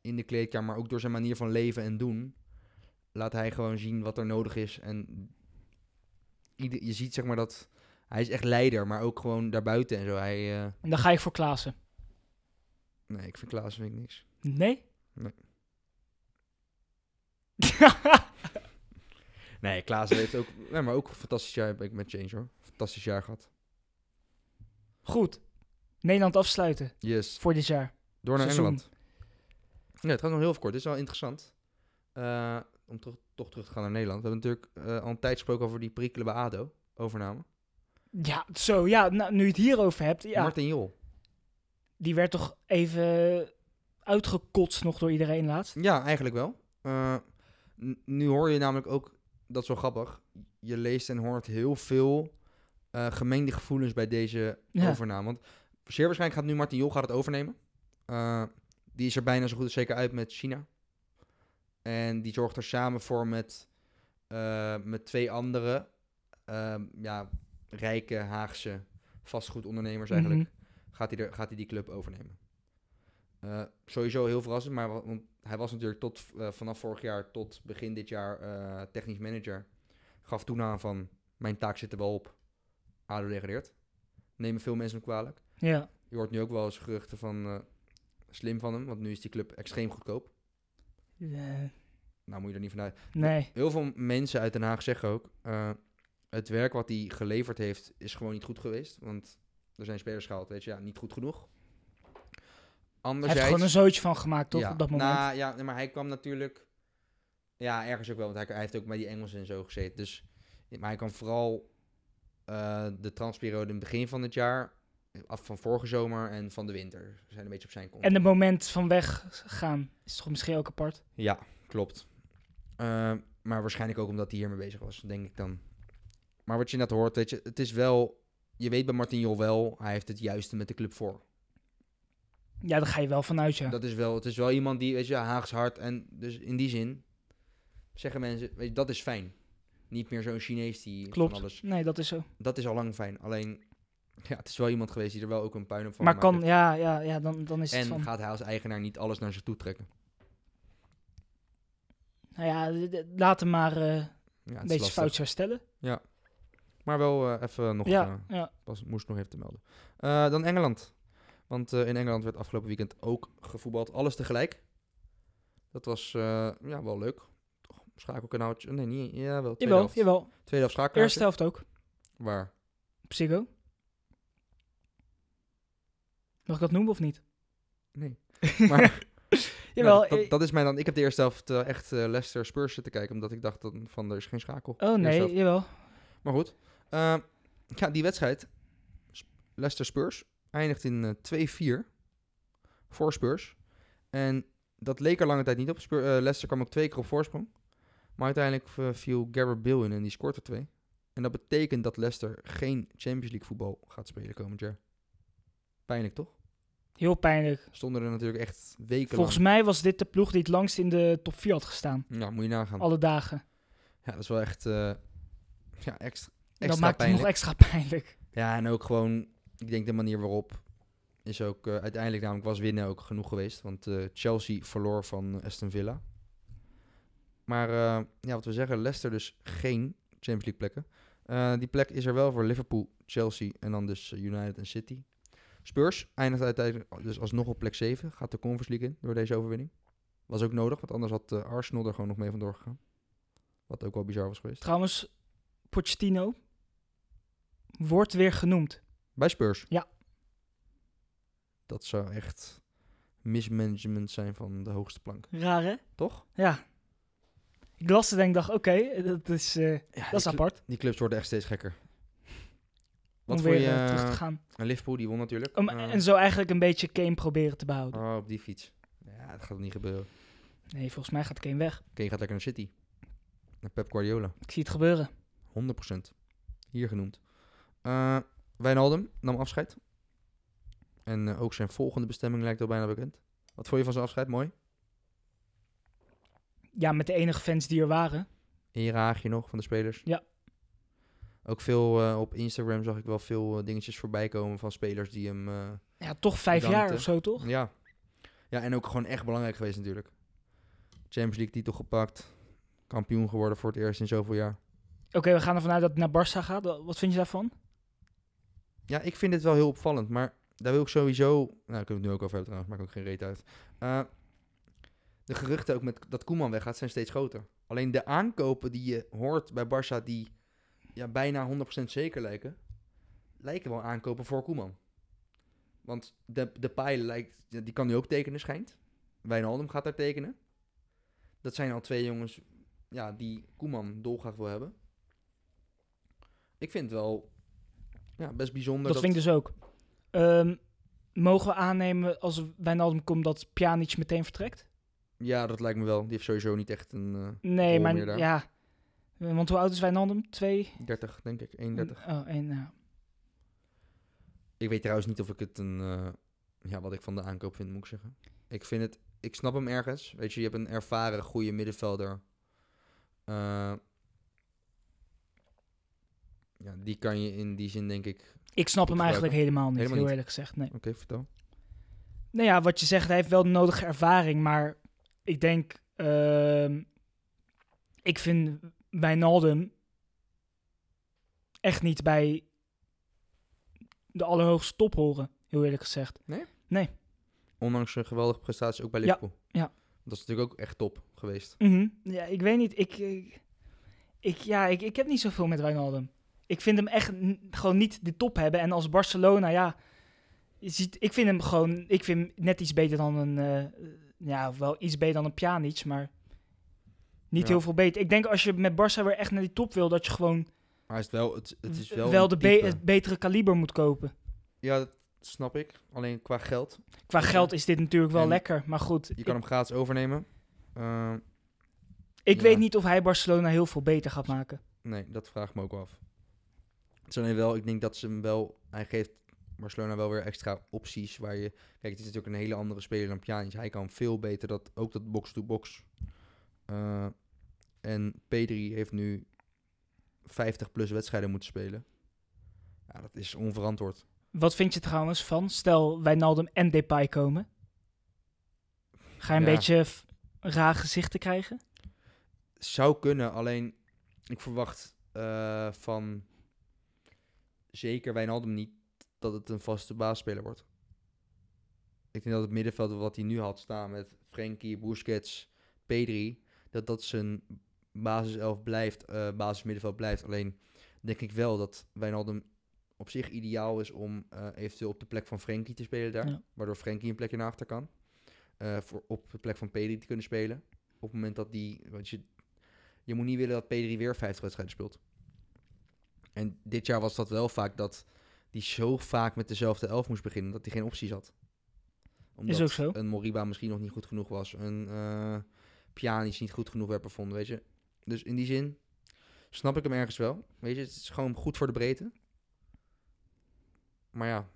Speaker 1: in de kleedkamer, maar ook door zijn manier van leven en doen, laat hij gewoon zien wat er nodig is. En ieder, je ziet zeg maar dat hij is echt leider, maar ook gewoon daarbuiten en zo. Hij, eh,
Speaker 2: En dan ga ik voor Klaassen.
Speaker 1: nee, ik vind Klaas vind ik niks.
Speaker 2: Nee?
Speaker 1: Nee. Nee, Klaas heeft ook, nee, maar ook een fantastisch jaar ben ik met Change hoor. Fantastisch jaar gehad.
Speaker 2: Goed. Nederland afsluiten
Speaker 1: Yes.
Speaker 2: voor dit jaar.
Speaker 1: Door naar
Speaker 2: Seizoen.
Speaker 1: Engeland. Ja, het gaat nog heel even kort. Dit is wel interessant. Eh, om terug, toch terug te gaan naar Nederland. We hebben natuurlijk eh, al een tijd gesproken over die perikelen bij ADO. Overname.
Speaker 2: Ja, zo, ja, nou, nu je het hierover hebt, ja.
Speaker 1: Martin Jol.
Speaker 2: Die werd toch even uitgekotst nog door iedereen laatst.
Speaker 1: Ja, eigenlijk wel. Eh, n- nu hoor je namelijk ook, dat is wel grappig, je leest en hoort heel veel eh, gemengde gevoelens bij deze
Speaker 2: Ja.
Speaker 1: overname. Want zeer waarschijnlijk gaat nu Martin Jol gaat het overnemen. Eh, die is er bijna zo goed als zeker uit met China. En die zorgt er samen voor met, eh, met twee andere ehm, ja, rijke Haagse vastgoedondernemers
Speaker 2: Mhm.
Speaker 1: eigenlijk gaat hij, er, gaat hij die club overnemen. Eh, sowieso heel verrassend, maar wa- want hij was natuurlijk tot, eh, vanaf vorig jaar tot begin dit jaar eh, technisch manager. Gaf toen aan van, mijn taak zit er wel op. ADO degradeert. Nemen veel mensen hem kwalijk.
Speaker 2: Mhm. Ja.
Speaker 1: Je hoort nu ook wel eens geruchten van, eh, slim van hem, want nu is die club extreem goedkoop.
Speaker 2: Eh,
Speaker 1: Nou moet je er niet vanuit.
Speaker 2: nee.
Speaker 1: Heel veel mensen uit Den Haag zeggen ook, eh, het werk wat hij geleverd heeft is gewoon niet goed geweest. Want er zijn spelers gehaald, weet je, ja, niet goed genoeg.
Speaker 2: Hij heeft er
Speaker 1: Anderzijds...
Speaker 2: gewoon een zootje van gemaakt, toch?
Speaker 1: Ja,
Speaker 2: Op dat moment.
Speaker 1: nou, ja, nee, maar hij kwam natuurlijk... Ja, ergens ook wel, want hij, hij heeft ook bij die Engelsen en zo gezeten. Dus, maar hij kan vooral eh, de transperiode in het begin van het jaar... Af van vorige zomer en van de winter. Zijn een beetje op zijn kont.
Speaker 2: En het moment van weggaan is toch misschien ook apart?
Speaker 1: Ja, klopt. Eh, maar waarschijnlijk ook omdat hij hiermee bezig was, denk ik dan. Maar wat je net hoort, weet je, het is wel... Je weet bij Martin Jol wel, hij heeft het juiste met de club voor.
Speaker 2: Ja, daar ga je wel vanuit, ja.
Speaker 1: Dat is wel, het is wel iemand die, weet je, Haags hart. En dus in die zin zeggen mensen, weet je, dat is fijn. Niet meer zo'n Chinees die
Speaker 2: Klopt.
Speaker 1: van alles...
Speaker 2: Nee, dat is zo.
Speaker 1: Dat is al lang fijn. Alleen, ja, het is wel iemand geweest die er wel ook een puin op van
Speaker 2: Maar
Speaker 1: gemaakt
Speaker 2: kan, ja, ja, ja dan, dan is
Speaker 1: heeft.
Speaker 2: het
Speaker 1: En
Speaker 2: van...
Speaker 1: gaat hij als eigenaar niet alles naar zich toe trekken.
Speaker 2: Nou ja, d- d- laat hem maar
Speaker 1: Ja,
Speaker 2: eh,
Speaker 1: het
Speaker 2: een
Speaker 1: is
Speaker 2: beetje
Speaker 1: lastig.
Speaker 2: fout herstellen.
Speaker 1: Maar wel eh, even nog... eh,
Speaker 2: Ja, ja.
Speaker 1: was, moest nog even te melden. Eh, dan Engeland. Want eh, in Engeland werd afgelopen weekend ook gevoetbald. Alles tegelijk. Dat was eh, ja, wel leuk. Toch, schakelkanaaltje. Nee, niet. Ja, wel. Tweede
Speaker 2: Jawel,
Speaker 1: helft.
Speaker 2: jawel.
Speaker 1: Tweede helft schakelkanaaltje.
Speaker 2: Eerste helft ook.
Speaker 1: Waar?
Speaker 2: Psycho. Mag ik dat noemen of niet?
Speaker 1: Nee. Maar
Speaker 2: Jawel.
Speaker 1: nou, dat,
Speaker 2: eh,
Speaker 1: dat is mij dan. Ik heb de eerste helft eh, echt eh, Leicester Spurs zitten kijken. Omdat ik dacht dan van er is geen schakel.
Speaker 2: oh
Speaker 1: Eerste
Speaker 2: nee,
Speaker 1: helft.
Speaker 2: jawel.
Speaker 1: Maar goed. Eh, ja, die wedstrijd. Sp- Leicester Spurs eindigt in eh, 2-4 voor Spurs. En dat leek er lange tijd niet op. Spur, eh, Leicester kwam ook twee keer op voorsprong. Maar uiteindelijk eh, viel Gareth Bale in en die scoort er twee. En dat betekent dat Leicester geen Champions League voetbal gaat spelen komend jaar. Pijnlijk toch?
Speaker 2: Heel pijnlijk.
Speaker 1: Stonden er natuurlijk echt weken
Speaker 2: Volgens mij was dit de ploeg die het langst in de top 4 had gestaan.
Speaker 1: lang. Ja, moet je nagaan.
Speaker 2: Alle dagen.
Speaker 1: Ja, dat is wel echt eh, ja, extra,
Speaker 2: dat
Speaker 1: extra
Speaker 2: maakt het
Speaker 1: pijnlijk.
Speaker 2: nog extra pijnlijk.
Speaker 1: Ja, en ook gewoon, ik denk de manier waarop is ook eh, uiteindelijk namelijk was winnen ook genoeg geweest. Want eh, Chelsea verloor van Aston Villa. Maar eh, ja, wat we zeggen, Leicester dus geen Champions League plekken. Eh, die plek is er wel voor Liverpool, Chelsea en dan dus eh, United en City. Spurs eindigt uiteindelijk dus alsnog op plek 7. Gaat de Conference League in door deze overwinning. Was ook nodig, want anders had eh, Arsenal er gewoon nog mee vandoor gegaan. Wat ook wel bizar was geweest.
Speaker 2: Trouwens, Pochettino wordt weer genoemd.
Speaker 1: Bij Spurs?
Speaker 2: Ja.
Speaker 1: Dat zou echt mismanagement zijn van de hoogste plank,
Speaker 2: Raar, hè?
Speaker 1: toch?
Speaker 2: Ja. Ik las het en ik dacht, oké, dat is, eh,
Speaker 1: Ja,
Speaker 2: dat is apart.
Speaker 1: Die clubs worden echt steeds gekker. Wat
Speaker 2: om
Speaker 1: voor
Speaker 2: weer
Speaker 1: je...
Speaker 2: eh, terug te gaan.
Speaker 1: eh, Liverpool, die won natuurlijk.
Speaker 2: Om,
Speaker 1: Eh,
Speaker 2: en zo eigenlijk een beetje Kane proberen te behouden.
Speaker 1: oh, op die fiets. Ja, dat gaat niet gebeuren.
Speaker 2: Nee, volgens mij gaat Kane weg.
Speaker 1: Kane gaat lekker naar City. Naar Pep Guardiola.
Speaker 2: Ik zie het gebeuren.
Speaker 1: 100%. Hier genoemd. Eh Wijnaldum nam afscheid. En eh, ook zijn volgende bestemming lijkt al bijna bekend. Wat vond je van zijn afscheid? Mooi.
Speaker 2: Ja, met de enige fans die er waren.
Speaker 1: Eraagje nog van de spelers.
Speaker 2: Ja.
Speaker 1: Ook veel eh, op Instagram zag ik wel veel eh, dingetjes voorbij komen van spelers die hem. eh,
Speaker 2: Ja, toch vijf
Speaker 1: Bedankt,
Speaker 2: jaar
Speaker 1: hè. Mm.
Speaker 2: of zo, toch?
Speaker 1: ja. ja, en ook gewoon echt belangrijk geweest natuurlijk. Champions League titel gepakt. Kampioen geworden voor het eerst in zoveel jaar.
Speaker 2: Oké, we gaan ervan uit dat het naar Barça gaat. Wa- Wat vind je daarvan?
Speaker 1: Ja, ik vind dit wel heel opvallend, maar daar wil ik sowieso... Nou, daar kunnen we het nu ook over hebben trouwens, maakt ook geen reet uit. Eh, de geruchten ook met dat Koeman weggaat zijn steeds groter. Alleen de aankopen die je hoort bij Barça die ja, bijna 100% zeker lijken, lijken wel aankopen voor Koeman. Want de, de pijl lijkt, ja, die kan nu ook tekenen schijnt. Wijnaldum gaat daar tekenen. Dat zijn al twee jongens ja, die Koeman dolgraag wil hebben. Ik vind het wel ja, best bijzonder
Speaker 2: Dat vind ik dus ook. Ehm, mogen we aannemen als Wijnaldum komt dat Pjanic meteen vertrekt?
Speaker 1: Ja, dat lijkt me wel. Die heeft sowieso niet echt een eh,
Speaker 2: Nee,
Speaker 1: Rol meer
Speaker 2: maar
Speaker 1: daar.
Speaker 2: ja. Want hoe oud is Wijnaldum? Twee?
Speaker 1: 30, denk ik. 31.
Speaker 2: Oh, één, ja.
Speaker 1: Ik weet trouwens niet of ik het een... eh, ja, wat ik van de aankoop vind, moet ik zeggen. Ik vind het... Ik snap hem ergens. Weet je, je hebt een ervaren, goede middenvelder. Eh, ja, die kan je in die zin, denk ik... Oké,
Speaker 2: Ik snap hem
Speaker 1: Goed
Speaker 2: eigenlijk helemaal niet,
Speaker 1: Helemaal
Speaker 2: heel
Speaker 1: niet.
Speaker 2: eerlijk gezegd. Nee.
Speaker 1: vertel.
Speaker 2: Nou ja, wat je zegt, hij heeft wel de nodige ervaring, maar ik denk, ehm, ik vind Wijnaldum echt niet bij de allerhoogste top horen, heel eerlijk gezegd.
Speaker 1: Ondanks een geweldige prestatie ook bij
Speaker 2: Ja,
Speaker 1: Liverpool.
Speaker 2: ja.
Speaker 1: Dat is natuurlijk ook echt top geweest.
Speaker 2: Mhm. Ja, ik weet niet, ik, ik, ik- ja, ik, ik heb niet zoveel met Wijnaldum. Ik vind hem echt n- gewoon niet de top hebben. En als Barcelona, ja, je ziet, ik vind hem gewoon, ik vind hem net iets beter dan een, eh, ja, wel iets beter dan een Pjanic, maar niet
Speaker 1: Ja.
Speaker 2: heel veel beter. Ik denk als je met Barça weer echt naar die top wil, dat je gewoon
Speaker 1: Maar het is wel... Het, het is wel,
Speaker 2: wel
Speaker 1: een
Speaker 2: de be-
Speaker 1: type.
Speaker 2: het betere kaliber moet kopen.
Speaker 1: Ja, dat snap ik. Alleen qua geld.
Speaker 2: Qua
Speaker 1: Ja.
Speaker 2: geld is dit natuurlijk wel
Speaker 1: En
Speaker 2: lekker, maar goed.
Speaker 1: Je kan
Speaker 2: ik
Speaker 1: hem gratis overnemen. Eh,
Speaker 2: ik
Speaker 1: ja.
Speaker 2: weet niet of hij Barcelona heel veel beter gaat maken.
Speaker 1: nee, dat vraag ik me ook af. Het is alleen wel, ik denk dat ze hem wel... Hij geeft Barcelona wel weer extra opties waar je... Kijk, het is natuurlijk een hele andere speler dan Pjanic. Hij kan veel beter dat, ook dat box-to-box. Eh, en P3 heeft nu 50 plus wedstrijden moeten spelen. Ja, dat is onverantwoord.
Speaker 2: Wat vind je trouwens van, stel Wijnaldum en Depay komen? Ga je een
Speaker 1: Ja.
Speaker 2: beetje f- raar gezichten krijgen?
Speaker 1: zou kunnen, alleen ik verwacht eh, van zeker Wijnaldum niet dat het een vaste baasspeler wordt. Ik denk dat het middenveld wat hij nu had staan met Frenkie, Busquets, Pedri, dat dat zijn basiself blijft, eh basismiddenveld blijft. Alleen denk ik wel dat Wijnaldum op zich ideaal is om eh, eventueel op de plek van Frenkie te spelen daar,
Speaker 2: Ja.
Speaker 1: waardoor Frenkie een plekje naar achter kan. Eh, voor op de plek van Pedri te kunnen spelen. Op het moment dat die, want je, je moet niet willen dat Pedri weer 50 wedstrijden speelt. En dit jaar was dat wel vaak dat die zo vaak met dezelfde elf moest beginnen dat hij geen opties had. Omdat
Speaker 2: ook zo.
Speaker 1: een Moriba misschien nog niet goed genoeg was, een eh Pjanic niet goed genoeg werd bevonden, weet je. Dus in die zin snap ik hem ergens wel. Weet je, het is gewoon goed voor de breedte. Maar ja,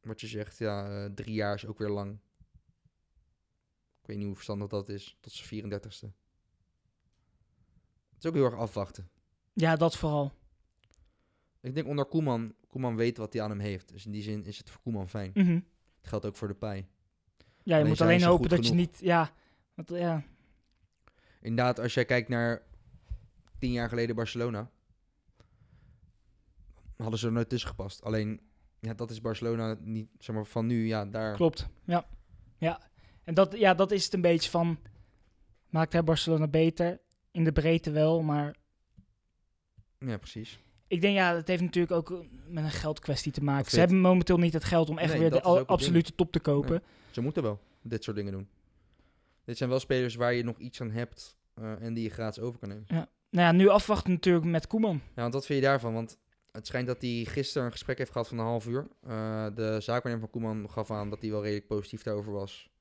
Speaker 1: wat je zegt, ja, eh, drie jaar is ook weer lang. Ik weet niet hoe verstandig dat is, tot zijn 34ste. Het is ook heel erg afwachten.
Speaker 2: Ja, dat vooral.
Speaker 1: Ik denk onder Koeman, Koeman weet wat hij aan hem heeft. Dus in die zin is het voor Koeman fijn.
Speaker 2: Mhm.
Speaker 1: Het geldt ook voor de pij.
Speaker 2: Ja, je
Speaker 1: Alleen
Speaker 2: moet
Speaker 1: zijn
Speaker 2: alleen
Speaker 1: ze
Speaker 2: hopen
Speaker 1: goed
Speaker 2: dat je
Speaker 1: genoeg.
Speaker 2: niet... Ja, want, ja,
Speaker 1: Inderdaad, als jij kijkt naar tien jaar geleden Barcelona, hadden ze er nooit tussen gepast. Alleen, ja, dat is Barcelona niet, zeg maar, van nu, ja, daar.
Speaker 2: klopt. Ja, ja. en dat, ja, dat is het een beetje van... Maakt hij Barcelona beter? In de breedte wel, maar...
Speaker 1: Ja, precies.
Speaker 2: Ik denk, ja, dat heeft natuurlijk ook met een geldkwestie te maken.
Speaker 1: Dat
Speaker 2: Ze
Speaker 1: weet-
Speaker 2: hebben momenteel niet het geld om echt
Speaker 1: Nee,
Speaker 2: weer
Speaker 1: dat
Speaker 2: de
Speaker 1: is ook het
Speaker 2: absolute top te kopen.
Speaker 1: Ze moeten wel dit soort dingen doen. Dit zijn wel spelers waar je nog iets aan hebt eh, en die je gratis over kan nemen.
Speaker 2: Nou ja, nu afwachten natuurlijk met Koeman.
Speaker 1: Ja, want wat vind je daarvan? Want het schijnt dat hij gisteren een gesprek heeft gehad van een half uur. Eh, de zaakwaarnemer van Koeman gaf aan dat hij wel redelijk positief daarover was.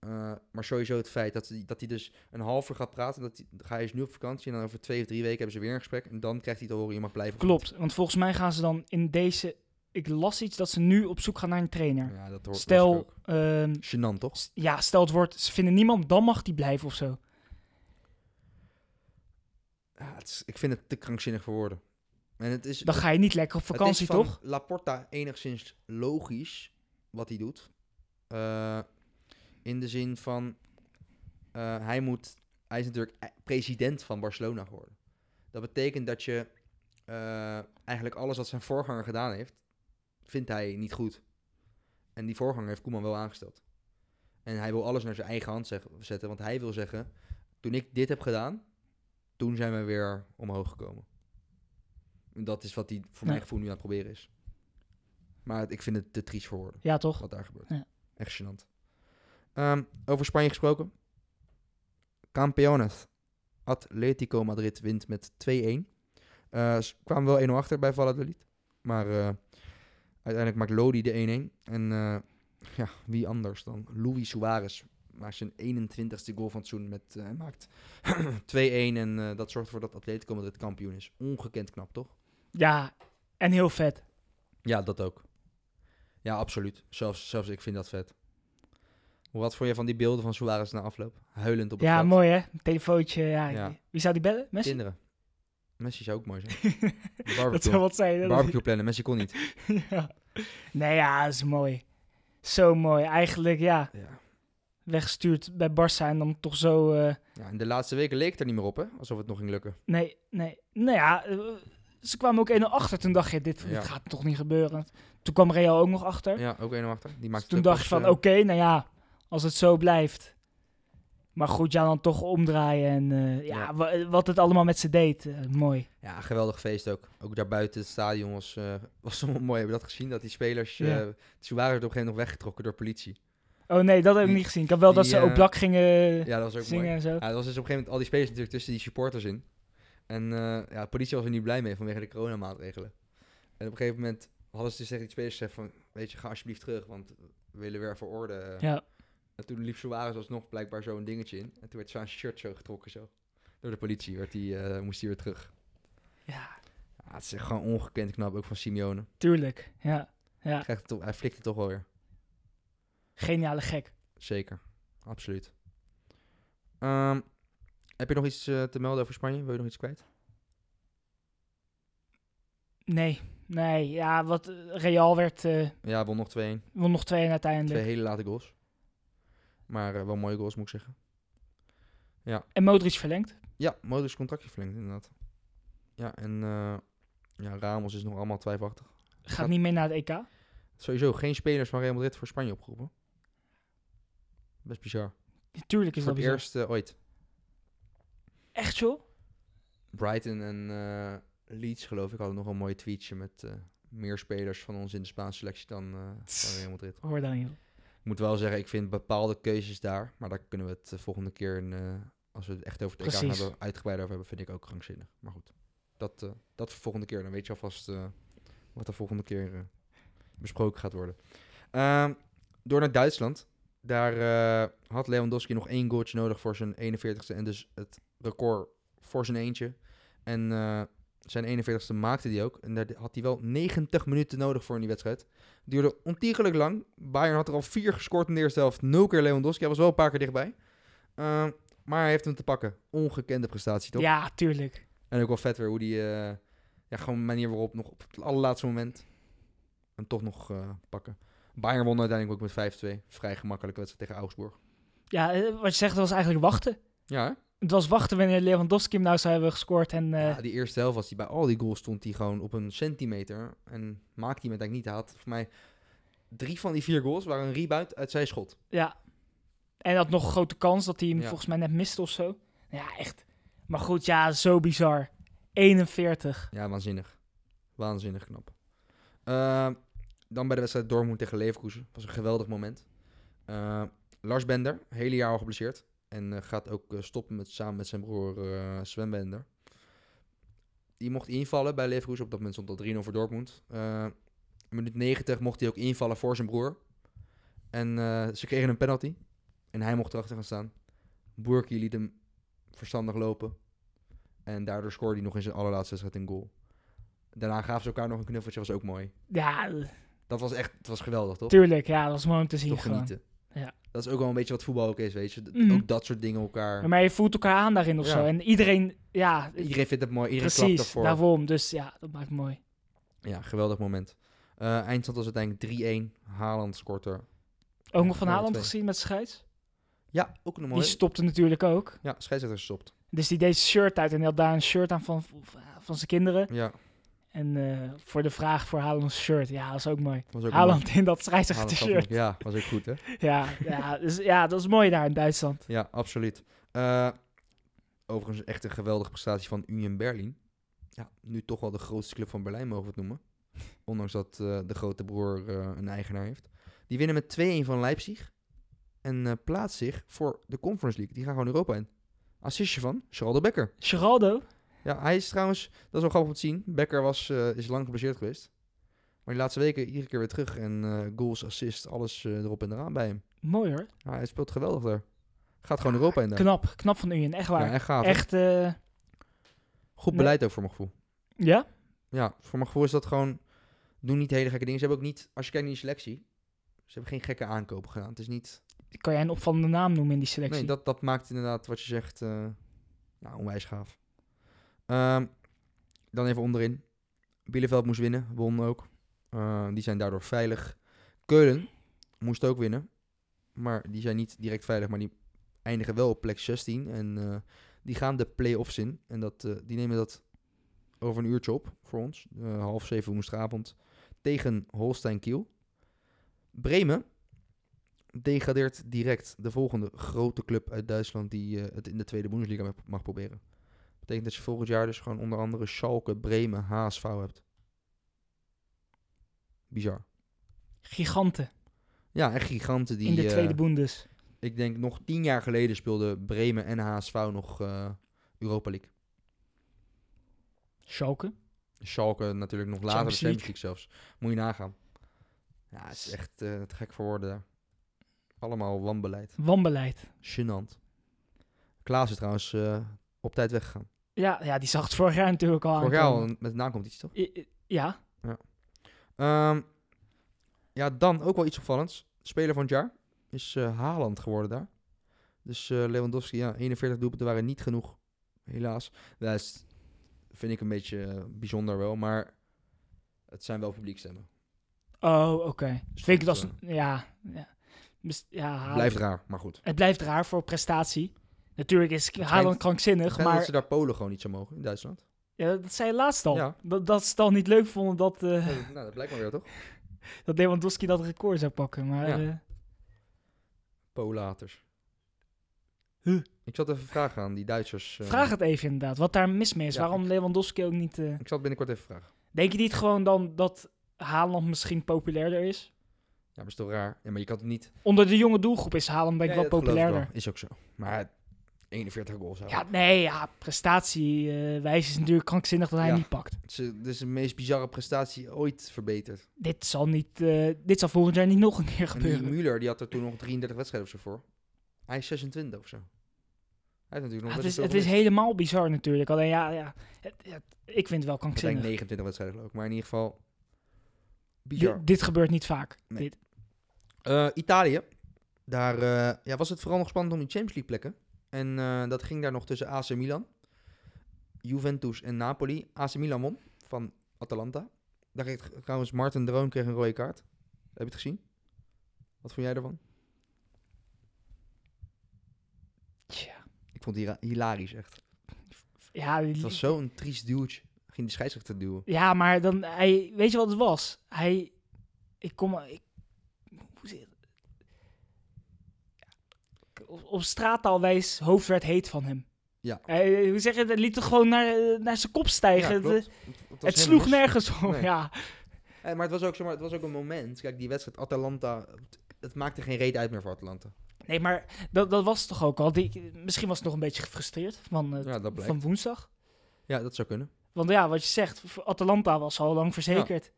Speaker 1: Eh, maar sowieso het feit dat, hij- dat hij dus een half uur gaat praten. Dat hij, hij is nu op vakantie en dan over twee of drie weken hebben ze weer een gesprek. En dan krijgt hij te horen, je mag blijven. of niet.
Speaker 2: Klopt, want volgens mij gaan ze dan in deze... Ik las iets dat ze nu op zoek gaan naar een trainer.
Speaker 1: Ja, dat hoort
Speaker 2: stel,
Speaker 1: ook.
Speaker 2: ehm,
Speaker 1: Gênant, toch?
Speaker 2: s- ja, stel het wordt, ze vinden niemand, dan mag die blijven of zo.
Speaker 1: Ja, het is- ik vind het te krankzinnig voor woorden. En het is,
Speaker 2: Dan ga je niet lekker op vakantie,
Speaker 1: het is van
Speaker 2: toch?
Speaker 1: Laporta enigszins logisch wat hij doet. Eh, in de zin van, eh, hij, moet, hij is natuurlijk e- president van Barcelona geworden. Dat betekent dat je eh, eigenlijk alles wat zijn voorganger gedaan heeft, vindt hij niet goed. En die voorganger heeft Koeman wel aangesteld. En hij wil alles naar zijn eigen hand zeg- zetten, want hij wil zeggen, toen ik dit heb gedaan, toen zijn we weer omhoog gekomen. En dat is wat hij voor
Speaker 2: Ja.
Speaker 1: mijn gevoel nu aan het proberen is. Maar het- ik vind het te triest voor woorden,
Speaker 2: Ja, toch?
Speaker 1: wat daar gebeurt.
Speaker 2: Ja.
Speaker 1: Echt gênant. Ehm, over Spanje gesproken. Campeones. Atletico Madrid wint met 2-1. Eh, ze kwamen wel 1-0 achter bij Valladolid. Maar eh, Uiteindelijk maakt Lodi de 1-1. En eh, ja, wie anders dan Luis Suarez maakt zijn 21ste goal van het seizoen met eh, hij maakt 2-1 en eh, dat zorgt ervoor dat Atletico Madrid kampioen is. Ongekend knap, toch?
Speaker 2: Ja, en heel vet.
Speaker 1: Ja, dat ook. Ja, absoluut. Zelfs, zelfs ik vind dat vet. Wat vond je van die beelden van Suarez na afloop? Huilend op het
Speaker 2: Ja,
Speaker 1: veld.
Speaker 2: mooi hè? Telefoontje. Ja.
Speaker 1: Ja.
Speaker 2: Wie zou die bellen? Messi?
Speaker 1: Kinderen. Messi zou ook mooi zijn. Barbecue.
Speaker 2: Dat zou wat zijn. hè? Dat-
Speaker 1: Barbecue plannen, Messi kon niet.
Speaker 2: ja. Nee, ja, dat is mooi. Zo mooi. Eigenlijk, ja,
Speaker 1: Ja.
Speaker 2: weggestuurd bij Barça en dan toch zo... eh,
Speaker 1: Ja, in de laatste weken leek het er niet meer op, hè? Alsof het nog ging lukken.
Speaker 2: nee, nee. Nou ja, eh, ze kwamen ook 1-0 achter. Toen dacht je, dit, dit
Speaker 1: Ja.
Speaker 2: gaat toch niet gebeuren. Toen kwam Real ook nog achter.
Speaker 1: Ja, ook 1 achter. Die maakte
Speaker 2: Toen
Speaker 1: het
Speaker 2: dacht je
Speaker 1: pas,
Speaker 2: van,
Speaker 1: eh,
Speaker 2: oké, nou ja, als het zo blijft. Maar goed, ja, dan toch omdraaien. En eh, ja,
Speaker 1: Ja.
Speaker 2: wa- wat het allemaal met ze deed. eh, mooi.
Speaker 1: Ja, geweldig feest ook. Ook daar buiten het stadion was, eh was zo mooi. Hebben we dat gezien? Dat die spelers... eh
Speaker 2: Ja.
Speaker 1: ze waren er op een gegeven moment nog weggetrokken door politie.
Speaker 2: Oh nee, dat heb ik
Speaker 1: Die-
Speaker 2: niet gezien. Ik had wel dat
Speaker 1: die,
Speaker 2: ze
Speaker 1: eh,
Speaker 2: ook blak gingen
Speaker 1: Ja, dat was ook
Speaker 2: zingen
Speaker 1: mooi.
Speaker 2: en zo.
Speaker 1: Ja, dat was dus op een gegeven moment al die spelers natuurlijk tussen die supporters in. En eh, ja, de politie was er niet blij mee vanwege de coronamaatregelen. En op een gegeven moment hadden ze dus tegen die spelers gezegd van... Weet je, ga alsjeblieft terug, want we willen weer voor orde. eh,
Speaker 2: Ja.
Speaker 1: En toen liep Suarez alsnog blijkbaar zo'n dingetje in. En toen werd zijn shirt zo getrokken zo. Door de politie werd die, eh, moest hij weer terug.
Speaker 2: ja,
Speaker 1: Ja, het is echt gewoon ongekend knap, ook van Simeone.
Speaker 2: tuurlijk. Ja, ja.
Speaker 1: Krijgt het toch- hij flikt het toch wel weer.
Speaker 2: Geniale gek.
Speaker 1: Zeker, absoluut. Ehm, heb je nog iets eh, te melden over Spanje? Wil je nog iets kwijt?
Speaker 2: Nee, nee. Ja, wat eh, Real werd, eh
Speaker 1: Ja, won nog 2-1.
Speaker 2: won nog twee en
Speaker 1: Twee
Speaker 2: uiteindelijk.
Speaker 1: hele late goals. Maar eh, wel mooie goals, moet ik zeggen.
Speaker 2: En Modric verlengd.
Speaker 1: Ja, Modric's contractje verlengd, inderdaad. Ja, en eh, ja, Ramos is nog allemaal twijfelachtig.
Speaker 2: Gaat
Speaker 1: Dat-
Speaker 2: niet mee naar het EK.
Speaker 1: Sowieso geen spelers van Real Madrid voor Spanje opgeroepen. Best bizar.
Speaker 2: Tuurlijk is
Speaker 1: voor
Speaker 2: dat
Speaker 1: het
Speaker 2: bizar.
Speaker 1: eerst eh, ooit.
Speaker 2: Echt joh?
Speaker 1: Brighton en eh, Leeds, geloof ik, hadden nog een mooi tweetje met eh, meer spelers van ons in de Spaanse selectie dan eh, van Real Madrid.
Speaker 2: Hoor dan joh.
Speaker 1: Ik moet wel zeggen, ik vind bepaalde keuzes daar, maar daar kunnen we het de volgende keer, in, eh, als we het echt over het EK gaan
Speaker 2: Precies.
Speaker 1: hebben, uitgebreid over hebben, vind ik ook gangzinnig. Maar goed, dat, eh, dat voor volgende keer. Dan weet je alvast eh, wat de volgende keer eh, besproken gaat worden. Ehm, door naar Duitsland. Daar eh, had Lewandowski nog één goaltje nodig voor zijn 41ste en dus het record voor zijn eentje. En eh, zijn 41ste maakte hij ook. En daar had hij wel 90 minuten nodig voor in die wedstrijd. Het duurde ontiegelijk lang. Bayern had er al vier gescoord in de eerste helft. Nul keer Lewandowski. Hij was wel een paar keer dichtbij. Ehm, maar hij heeft hem te pakken. Ongekende prestatie, toch?
Speaker 2: Ja, tuurlijk.
Speaker 1: En ook wel vet weer hoe die... eh, ja, gewoon de manier waarop nog op het allerlaatste moment... hem toch nog eh, pakken. Bayern won uiteindelijk ook met 5-2. Vrij gemakkelijke wedstrijd tegen Augsburg.
Speaker 2: Ja, eh, wat je zegt was eigenlijk wachten.
Speaker 1: Ja, hè?
Speaker 2: Het was wachten wanneer Lewandowski hem nou zou hebben gescoord. En eh,
Speaker 1: Ja, die eerste helft was hij bij al die goals stond hij gewoon op een centimeter. En maakte hij hem uiteindelijk niet. Hij had voor mij drie van die vier goals waren een rebound uit zijn schot.
Speaker 2: Ja. En had nog een grote kans dat hij hem
Speaker 1: Ja.
Speaker 2: volgens mij net mist of zo. Ja, echt. Maar goed, ja, zo bizar. 41.
Speaker 1: Ja, waanzinnig. Waanzinnig knap. Ehm, dan bij de wedstrijd Dortmund tegen Leverkusen. was een geweldig moment. Eh, Lars Bender, hele jaar al geblesseerd. En eh, gaat ook eh, stoppen met, samen met zijn broer eh Sven Bender. Die mocht invallen bij Leverkusen. Op dat moment stond dat 3-0 voor Dortmund. Eh, in minuut 90 mocht hij ook invallen voor zijn broer. En eh, ze kregen een penalty. En hij mocht erachter gaan staan. Boerki liet hem verstandig lopen. En daardoor scoorde hij nog in zijn allerlaatste wedstrijd een goal. Daarna gaven ze elkaar nog een knuffeltje, was ook mooi.
Speaker 2: Ja,
Speaker 1: Dat was echt, het was geweldig, toch?
Speaker 2: tuurlijk. Ja, dat was mooi om te zien
Speaker 1: toch
Speaker 2: gewoon.
Speaker 1: genieten.
Speaker 2: Ja.
Speaker 1: Dat is ook wel een beetje wat voetbal ook is, weet je. Dat-
Speaker 2: Mhm.
Speaker 1: Ook dat soort dingen elkaar.
Speaker 2: Maar je voelt elkaar aan daarin of
Speaker 1: Ja.
Speaker 2: zo. En iedereen, ja,
Speaker 1: Iedereen vindt het mooi, iedereen klapt
Speaker 2: precies.
Speaker 1: daarvoor.
Speaker 2: Daarom. Dus ja, dat maakt het mooi.
Speaker 1: Ja, geweldig moment. Eh eindstand was uiteindelijk 3-1. Haaland scoort er.
Speaker 2: Ook
Speaker 1: Ja,
Speaker 2: nog van
Speaker 1: mooie
Speaker 2: Haaland
Speaker 1: twee.
Speaker 2: gezien met scheids.
Speaker 1: Ja, ook een
Speaker 2: Die
Speaker 1: mooie.
Speaker 2: stopte natuurlijk ook.
Speaker 1: Ja, scheidsrechter gestopt.
Speaker 2: Dus die deed zijn shirt uit en die had daar een shirt aan van, van zijn kinderen.
Speaker 1: Ja,
Speaker 2: En eh, voor de vraag voor Haaland's shirt. Ja, dat is ook mooi.
Speaker 1: was ook een
Speaker 2: Haaland in dat
Speaker 1: mooi- Haaland gaf
Speaker 2: scheidsrechter-shirt.
Speaker 1: hem- Ja, was ook goed, hè?
Speaker 2: Ja, ja, dus, ja, dat is mooi daar in Duitsland.
Speaker 1: Ja, absoluut. Eh, overigens echt een geweldige prestatie van Union Berlin. Ja, nu toch wel de grootste club van Berlijn mogen we het noemen. Ondanks dat eh, de grote broer eh, een eigenaar heeft. Die winnen met 2-1 van Leipzig. En eh, plaatst zich voor de Conference League. Die gaan gewoon Europa in. Assistje van Geraldo Becker.
Speaker 2: Geraldo,
Speaker 1: Ja, hij is trouwens, dat is wel grappig om te zien. Becker was, eh, is lang geblesseerd geweest. Maar Maar de laatste weken iedere keer weer terug. En eh, goals, assist, alles eh, erop en eraan bij hem.
Speaker 2: Mooi hoor.
Speaker 1: Ja, hij speelt geweldig daar. Gaat gewoon Europa in daar.
Speaker 2: Knap, knap van Union, echt waar.
Speaker 1: Ja, echt gaaf. hè?
Speaker 2: echt, eh,
Speaker 1: Goed
Speaker 2: Nee.
Speaker 1: beleid ook voor mijn gevoel.
Speaker 2: ja?
Speaker 1: Ja, voor mijn gevoel is dat gewoon... Doen niet hele gekke dingen. Ze hebben ook niet... Als je kijkt naar die selectie... Ze hebben geen gekke aankopen gedaan. Het is niet...
Speaker 2: Kan jij een opvallende naam noemen in die selectie?
Speaker 1: Nee, dat, dat maakt inderdaad wat je zegt... eh, nou, onwijs gaaf. Ehm, dan even onderin. Bielefeld moest winnen. Won ook. Eh, die zijn daardoor veilig. Keulen moest ook winnen. Maar die zijn niet direct veilig. Maar die eindigen wel op plek 16. En eh, die gaan de play-offs in. En dat, eh, die nemen dat over een uurtje op voor ons. Eh, half zeven woensdagavond. Tegen Holstein Kiel. Bremen degradeert direct de volgende grote club uit Duitsland die eh, het in de tweede Bundesliga mag- mag proberen. Betekent dat je volgend jaar dus gewoon onder andere Schalke, Bremen, HSV hebt. Bizar.
Speaker 2: Giganten
Speaker 1: Ja, en giganten die...
Speaker 2: in de
Speaker 1: eh,
Speaker 2: tweede Bundes.
Speaker 1: ik denk nog tien jaar geleden speelden Bremen en HSV nog eh, Europa League.
Speaker 2: Schalke.
Speaker 1: Schalke natuurlijk nog later, de
Speaker 2: Champions League.
Speaker 1: Champions League zelfs. Moet je nagaan. Ja, het is echt eh, het gek voor woorden daar. Allemaal wanbeleid.
Speaker 2: Wanbeleid.
Speaker 1: Gênant. Klaas is trouwens eh, op tijd weggegaan.
Speaker 2: Ja, ja, die zag het vorig jaar natuurlijk al
Speaker 1: Vorig jaar al
Speaker 2: aankomen.
Speaker 1: met de naam komt iets, toch?
Speaker 2: I- i- Ja,
Speaker 1: Ehm, ja, dan ook wel iets opvallends. Speler van het jaar is eh, Haaland geworden daar. Dus eh, Lewandowski, ja, 41 doelpunten waren niet genoeg, helaas. Dat is, vind ik een beetje eh, bijzonder wel, maar het zijn wel publiekstemmen.
Speaker 2: oh, oké.
Speaker 1: Dus
Speaker 2: Vind ik het
Speaker 1: dat,
Speaker 2: als...
Speaker 1: eh,
Speaker 2: Ja, ja. Bes- ja Haaland-
Speaker 1: blijft raar, maar goed.
Speaker 2: Het blijft raar voor prestatie. Natuurlijk is
Speaker 1: schijnt-
Speaker 2: Haaland krankzinnig,
Speaker 1: Fijn dat
Speaker 2: maar
Speaker 1: ze daar Polen gewoon niet zo mogen in Duitsland.
Speaker 2: ja, dat zei je laatst al.
Speaker 1: Ja.
Speaker 2: Dat, dat ze het al niet leuk vonden dat, eh,
Speaker 1: Ja, nou, dat blijkt maar weer, toch?
Speaker 2: dat Lewandowski dat record zou pakken. Maar
Speaker 1: Ja.
Speaker 2: eh,
Speaker 1: Polaters.
Speaker 2: Huh.
Speaker 1: Ik zat even vragen aan die Duitsers. eh,
Speaker 2: vraag het even inderdaad, wat daar mis mee is.
Speaker 1: Ja,
Speaker 2: Waarom
Speaker 1: ik-
Speaker 2: Lewandowski ook niet... eh,
Speaker 1: Ik zal het binnenkort even vragen.
Speaker 2: Denk je niet gewoon dan dat Haaland misschien populairder is?
Speaker 1: Ja, maar is toch raar? Ja, maar je kan het niet
Speaker 2: Onder de jonge doelgroep is Haaland denk ik
Speaker 1: Ja,
Speaker 2: wel
Speaker 1: dat geloof ik
Speaker 2: populairder.
Speaker 1: wel. Is ook zo. Maar 41 goals. houden.
Speaker 2: Ja, nee, ja, prestatiewijs is natuurlijk krankzinnig dat hij
Speaker 1: Ja.
Speaker 2: niet pakt.
Speaker 1: Het is, eh, dit is de meest bizarre prestatie ooit verbeterd.
Speaker 2: Dit zal, niet, eh, dit zal volgend jaar niet nog een keer
Speaker 1: En die
Speaker 2: gebeuren.
Speaker 1: Müller die had er toen nog 33 wedstrijden of zo voor. Hij is 26 of zo. Hij heeft natuurlijk nog
Speaker 2: Ja, het
Speaker 1: best
Speaker 2: is,
Speaker 1: wel
Speaker 2: het
Speaker 1: veel
Speaker 2: is
Speaker 1: gemist.
Speaker 2: helemaal bizar natuurlijk. Alleen ja, ja het- het- ik vind het wel krankzinnig.
Speaker 1: Uiteindelijk 29 wedstrijden geloof ik. Maar in ieder geval... Bizar.
Speaker 2: Dit, dit gebeurt niet vaak.
Speaker 1: Nee.
Speaker 2: Dit.
Speaker 1: Eh, Italië. Daar eh, ja, was het vooral nog spannend om die Champions League plekken. En eh, dat ging daar nog tussen AC Milan, Juventus en Napoli. AC Milan won van Atalanta. Daar kreeg trouwens Martin Droon kreeg een rode kaart. Heb je het gezien? Wat vond jij ervan?
Speaker 2: Tja.
Speaker 1: Ik vond het hila- hilarisch echt.
Speaker 2: Ja,
Speaker 1: Het was zo'n triest duwtje. Ging de scheidsrechter duwen.
Speaker 2: ja, maar dan, hij, weet je wat het was? Hij, ik kom, ik, hoe zit het? Op, op straattaalwijs, hoofd werd heet van hem.
Speaker 1: Ja.
Speaker 2: Hij, hoe zeg je, dat liet het gewoon naar, eh, naar zijn kop stijgen.
Speaker 1: Ja,
Speaker 2: Het- eh,
Speaker 1: klopt. was
Speaker 2: het
Speaker 1: helemaal
Speaker 2: sloeg
Speaker 1: mis.
Speaker 2: nergens op.
Speaker 1: Nee.
Speaker 2: Ja.
Speaker 1: Eh, maar, het was ook, zeg maar het was ook een moment. Kijk, die wedstrijd Atalanta... Het, het maakte geen reet uit meer voor Atalanta.
Speaker 2: Nee, maar dat, dat was toch ook al. Die, misschien was het nog een beetje gefrustreerd van, eh,
Speaker 1: Ja, dat blijkt.
Speaker 2: van woensdag.
Speaker 1: Ja, dat zou kunnen.
Speaker 2: Want ja, wat je zegt, voor Atalanta was al lang verzekerd.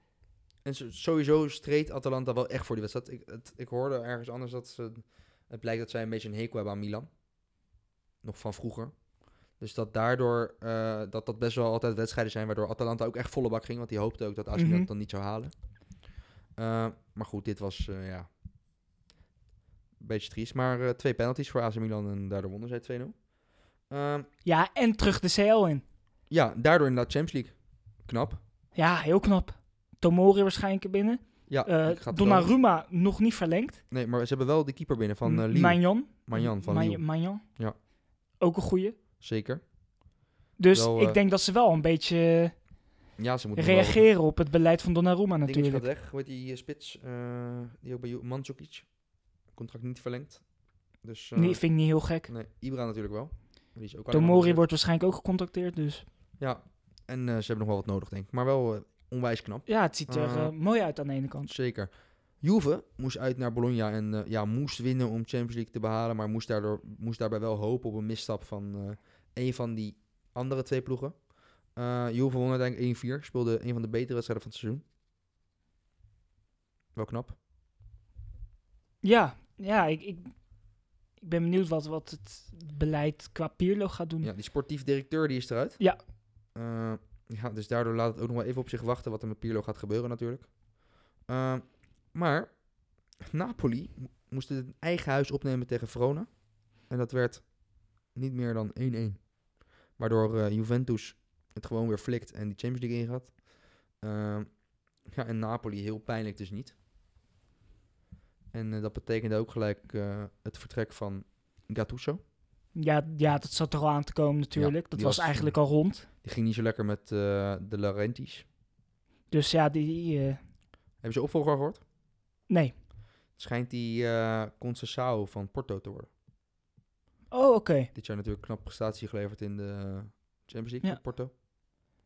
Speaker 1: En zo- sowieso streed Atalanta wel echt voor die wedstrijd. Ik, het, ik hoorde ergens anders dat ze... Het blijkt dat zij een beetje een hekel hebben aan Milan. Nog van vroeger. Dus dat daardoor... eh, dat dat best wel altijd wedstrijden zijn... waardoor Atalanta ook echt volle bak ging. Want die hoopte ook dat AC Milan
Speaker 2: Mhm.
Speaker 1: het dan niet zou halen. Eh, maar goed, dit was... eh, ja... Beetje triest. Maar eh, twee penalties voor AC Milan... en daardoor wonnen zij 2-0. Ehm,
Speaker 2: Ja, en terug de CL in.
Speaker 1: ja, daardoor inderdaad Champions League. Knap.
Speaker 2: Ja, heel knap. Tomori waarschijnlijk binnen.
Speaker 1: Ja,
Speaker 2: Eh,
Speaker 1: Ah, ik ga het wel-
Speaker 2: Donnarumma nog niet verlengd.
Speaker 1: Nee, maar ze hebben wel de keeper binnen van eh Lille.
Speaker 2: Magnan.
Speaker 1: Manjan van
Speaker 2: Ma-
Speaker 1: Lille.
Speaker 2: Magnan.
Speaker 1: Ja.
Speaker 2: Ook een goeie.
Speaker 1: Zeker.
Speaker 2: Dus
Speaker 1: Wel, eh,
Speaker 2: ik denk dat ze wel een beetje eh,
Speaker 1: Ja, ze moeten
Speaker 2: reageren op het beleid van Donnarumma
Speaker 1: Dingetje gaat
Speaker 2: natuurlijk.
Speaker 1: weg. Hoe heet die eh, spits? eh, die ook bij Ju- Mandzukic. Contract niet verlengd. Dus eh,
Speaker 2: Nee, vind ik niet heel gek.
Speaker 1: nee, Ibra natuurlijk wel. Die is ook allemaal
Speaker 2: Tomori
Speaker 1: geblesseerd.
Speaker 2: wordt waarschijnlijk ook gecontacteerd, dus...
Speaker 1: Ja, en eh, ze hebben nog wel wat nodig, denk ik. Maar wel eh, onwijs knap.
Speaker 2: Ja, het ziet er
Speaker 1: Eh.
Speaker 2: eh, mooi uit aan de ene kant.
Speaker 1: Zeker. Juve moest uit naar Bologna en eh, ja, moest winnen om Champions League te behalen. Maar moest, daardoor, moest daarbij wel hopen op een misstap van eh, een van die andere twee ploegen. Eh Juve won uiteindelijk 1-4. Speelde een van de betere wedstrijden van het seizoen. Wel knap.
Speaker 2: Ja, ja ik, ik, ik ben benieuwd wat, wat het beleid qua Pirlo gaat doen.
Speaker 1: Ja, die sportief directeur die is eruit.
Speaker 2: Ja.
Speaker 1: Eh, ja, dus daardoor laat het ook nog wel even op zich wachten wat er met Pirlo gaat gebeuren natuurlijk. Eh, maar Napoli mo- moest het in eigen huis opnemen tegen Verona. En dat werd niet meer dan 1-1. Waardoor eh, Juventus het gewoon weer flikt en die Champions League ingaat. Eh, ja, en Napoli heel pijnlijk dus niet. En eh, dat betekende ook gelijk eh, het vertrek van Gattuso.
Speaker 2: Ja, ja, dat zat er al aan te komen natuurlijk.
Speaker 1: Ja,
Speaker 2: dat
Speaker 1: die
Speaker 2: was
Speaker 1: was,
Speaker 2: eigenlijk al rond.
Speaker 1: Die ging niet zo lekker met eh, de Laurentiis.
Speaker 2: Dus ja, die... eh,
Speaker 1: Hebben ze opvolger al gehoord?
Speaker 2: nee.
Speaker 1: Het Schijnt die eh Concessao van Porto te worden.
Speaker 2: Oh, oké.
Speaker 1: Dit jaar natuurlijk knap prestatie geleverd in de Champions League
Speaker 2: Ja.
Speaker 1: voor Porto.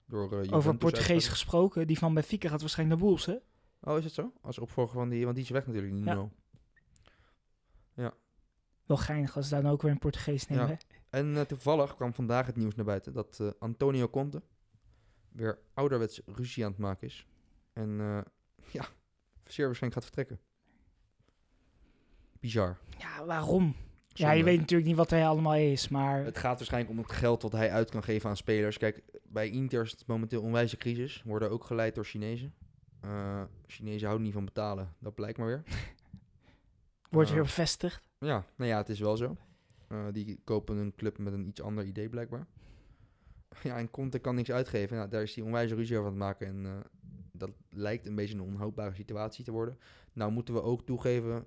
Speaker 1: Door, eh,
Speaker 2: Over
Speaker 1: Juventus
Speaker 2: Portugees
Speaker 1: uitgeschakeld.
Speaker 2: gesproken, die van Benfica gaat waarschijnlijk naar Wolves, hè?
Speaker 1: Oh, is dat zo? Als opvolger van die, want die is weg natuurlijk. Die
Speaker 2: Ja.
Speaker 1: Nuno.
Speaker 2: Wel geinig als ze daar dan ook weer een Portugees nemen,
Speaker 1: Ja.
Speaker 2: hè?
Speaker 1: En eh, toevallig kwam vandaag het nieuws naar buiten dat eh, Antonio Conte weer ouderwets ruzie aan het maken is. En eh, ja, zeer waarschijnlijk gaat vertrekken. Bizar.
Speaker 2: Ja, waarom? Ja, je
Speaker 1: Zonde.
Speaker 2: weet natuurlijk niet wat hij allemaal is, maar...
Speaker 1: Het gaat waarschijnlijk om het geld wat hij uit kan geven aan spelers. Kijk, bij Inter is het momenteel een onwijze crisis. Worden ook geleid door Chinezen. Eh, Chinezen houden niet van betalen, dat blijkt maar weer.
Speaker 2: Wordt
Speaker 1: Ja.
Speaker 2: weer bevestigd.
Speaker 1: Ja, nou ja, het is wel zo. Eh, die kopen een club met een iets ander idee blijkbaar. Ja, en Conte kan niks uitgeven. Nou, daar is hij onwijs ruzie over aan het maken. En eh, dat lijkt een beetje een onhoudbare situatie te worden. Nou moeten we ook toegeven,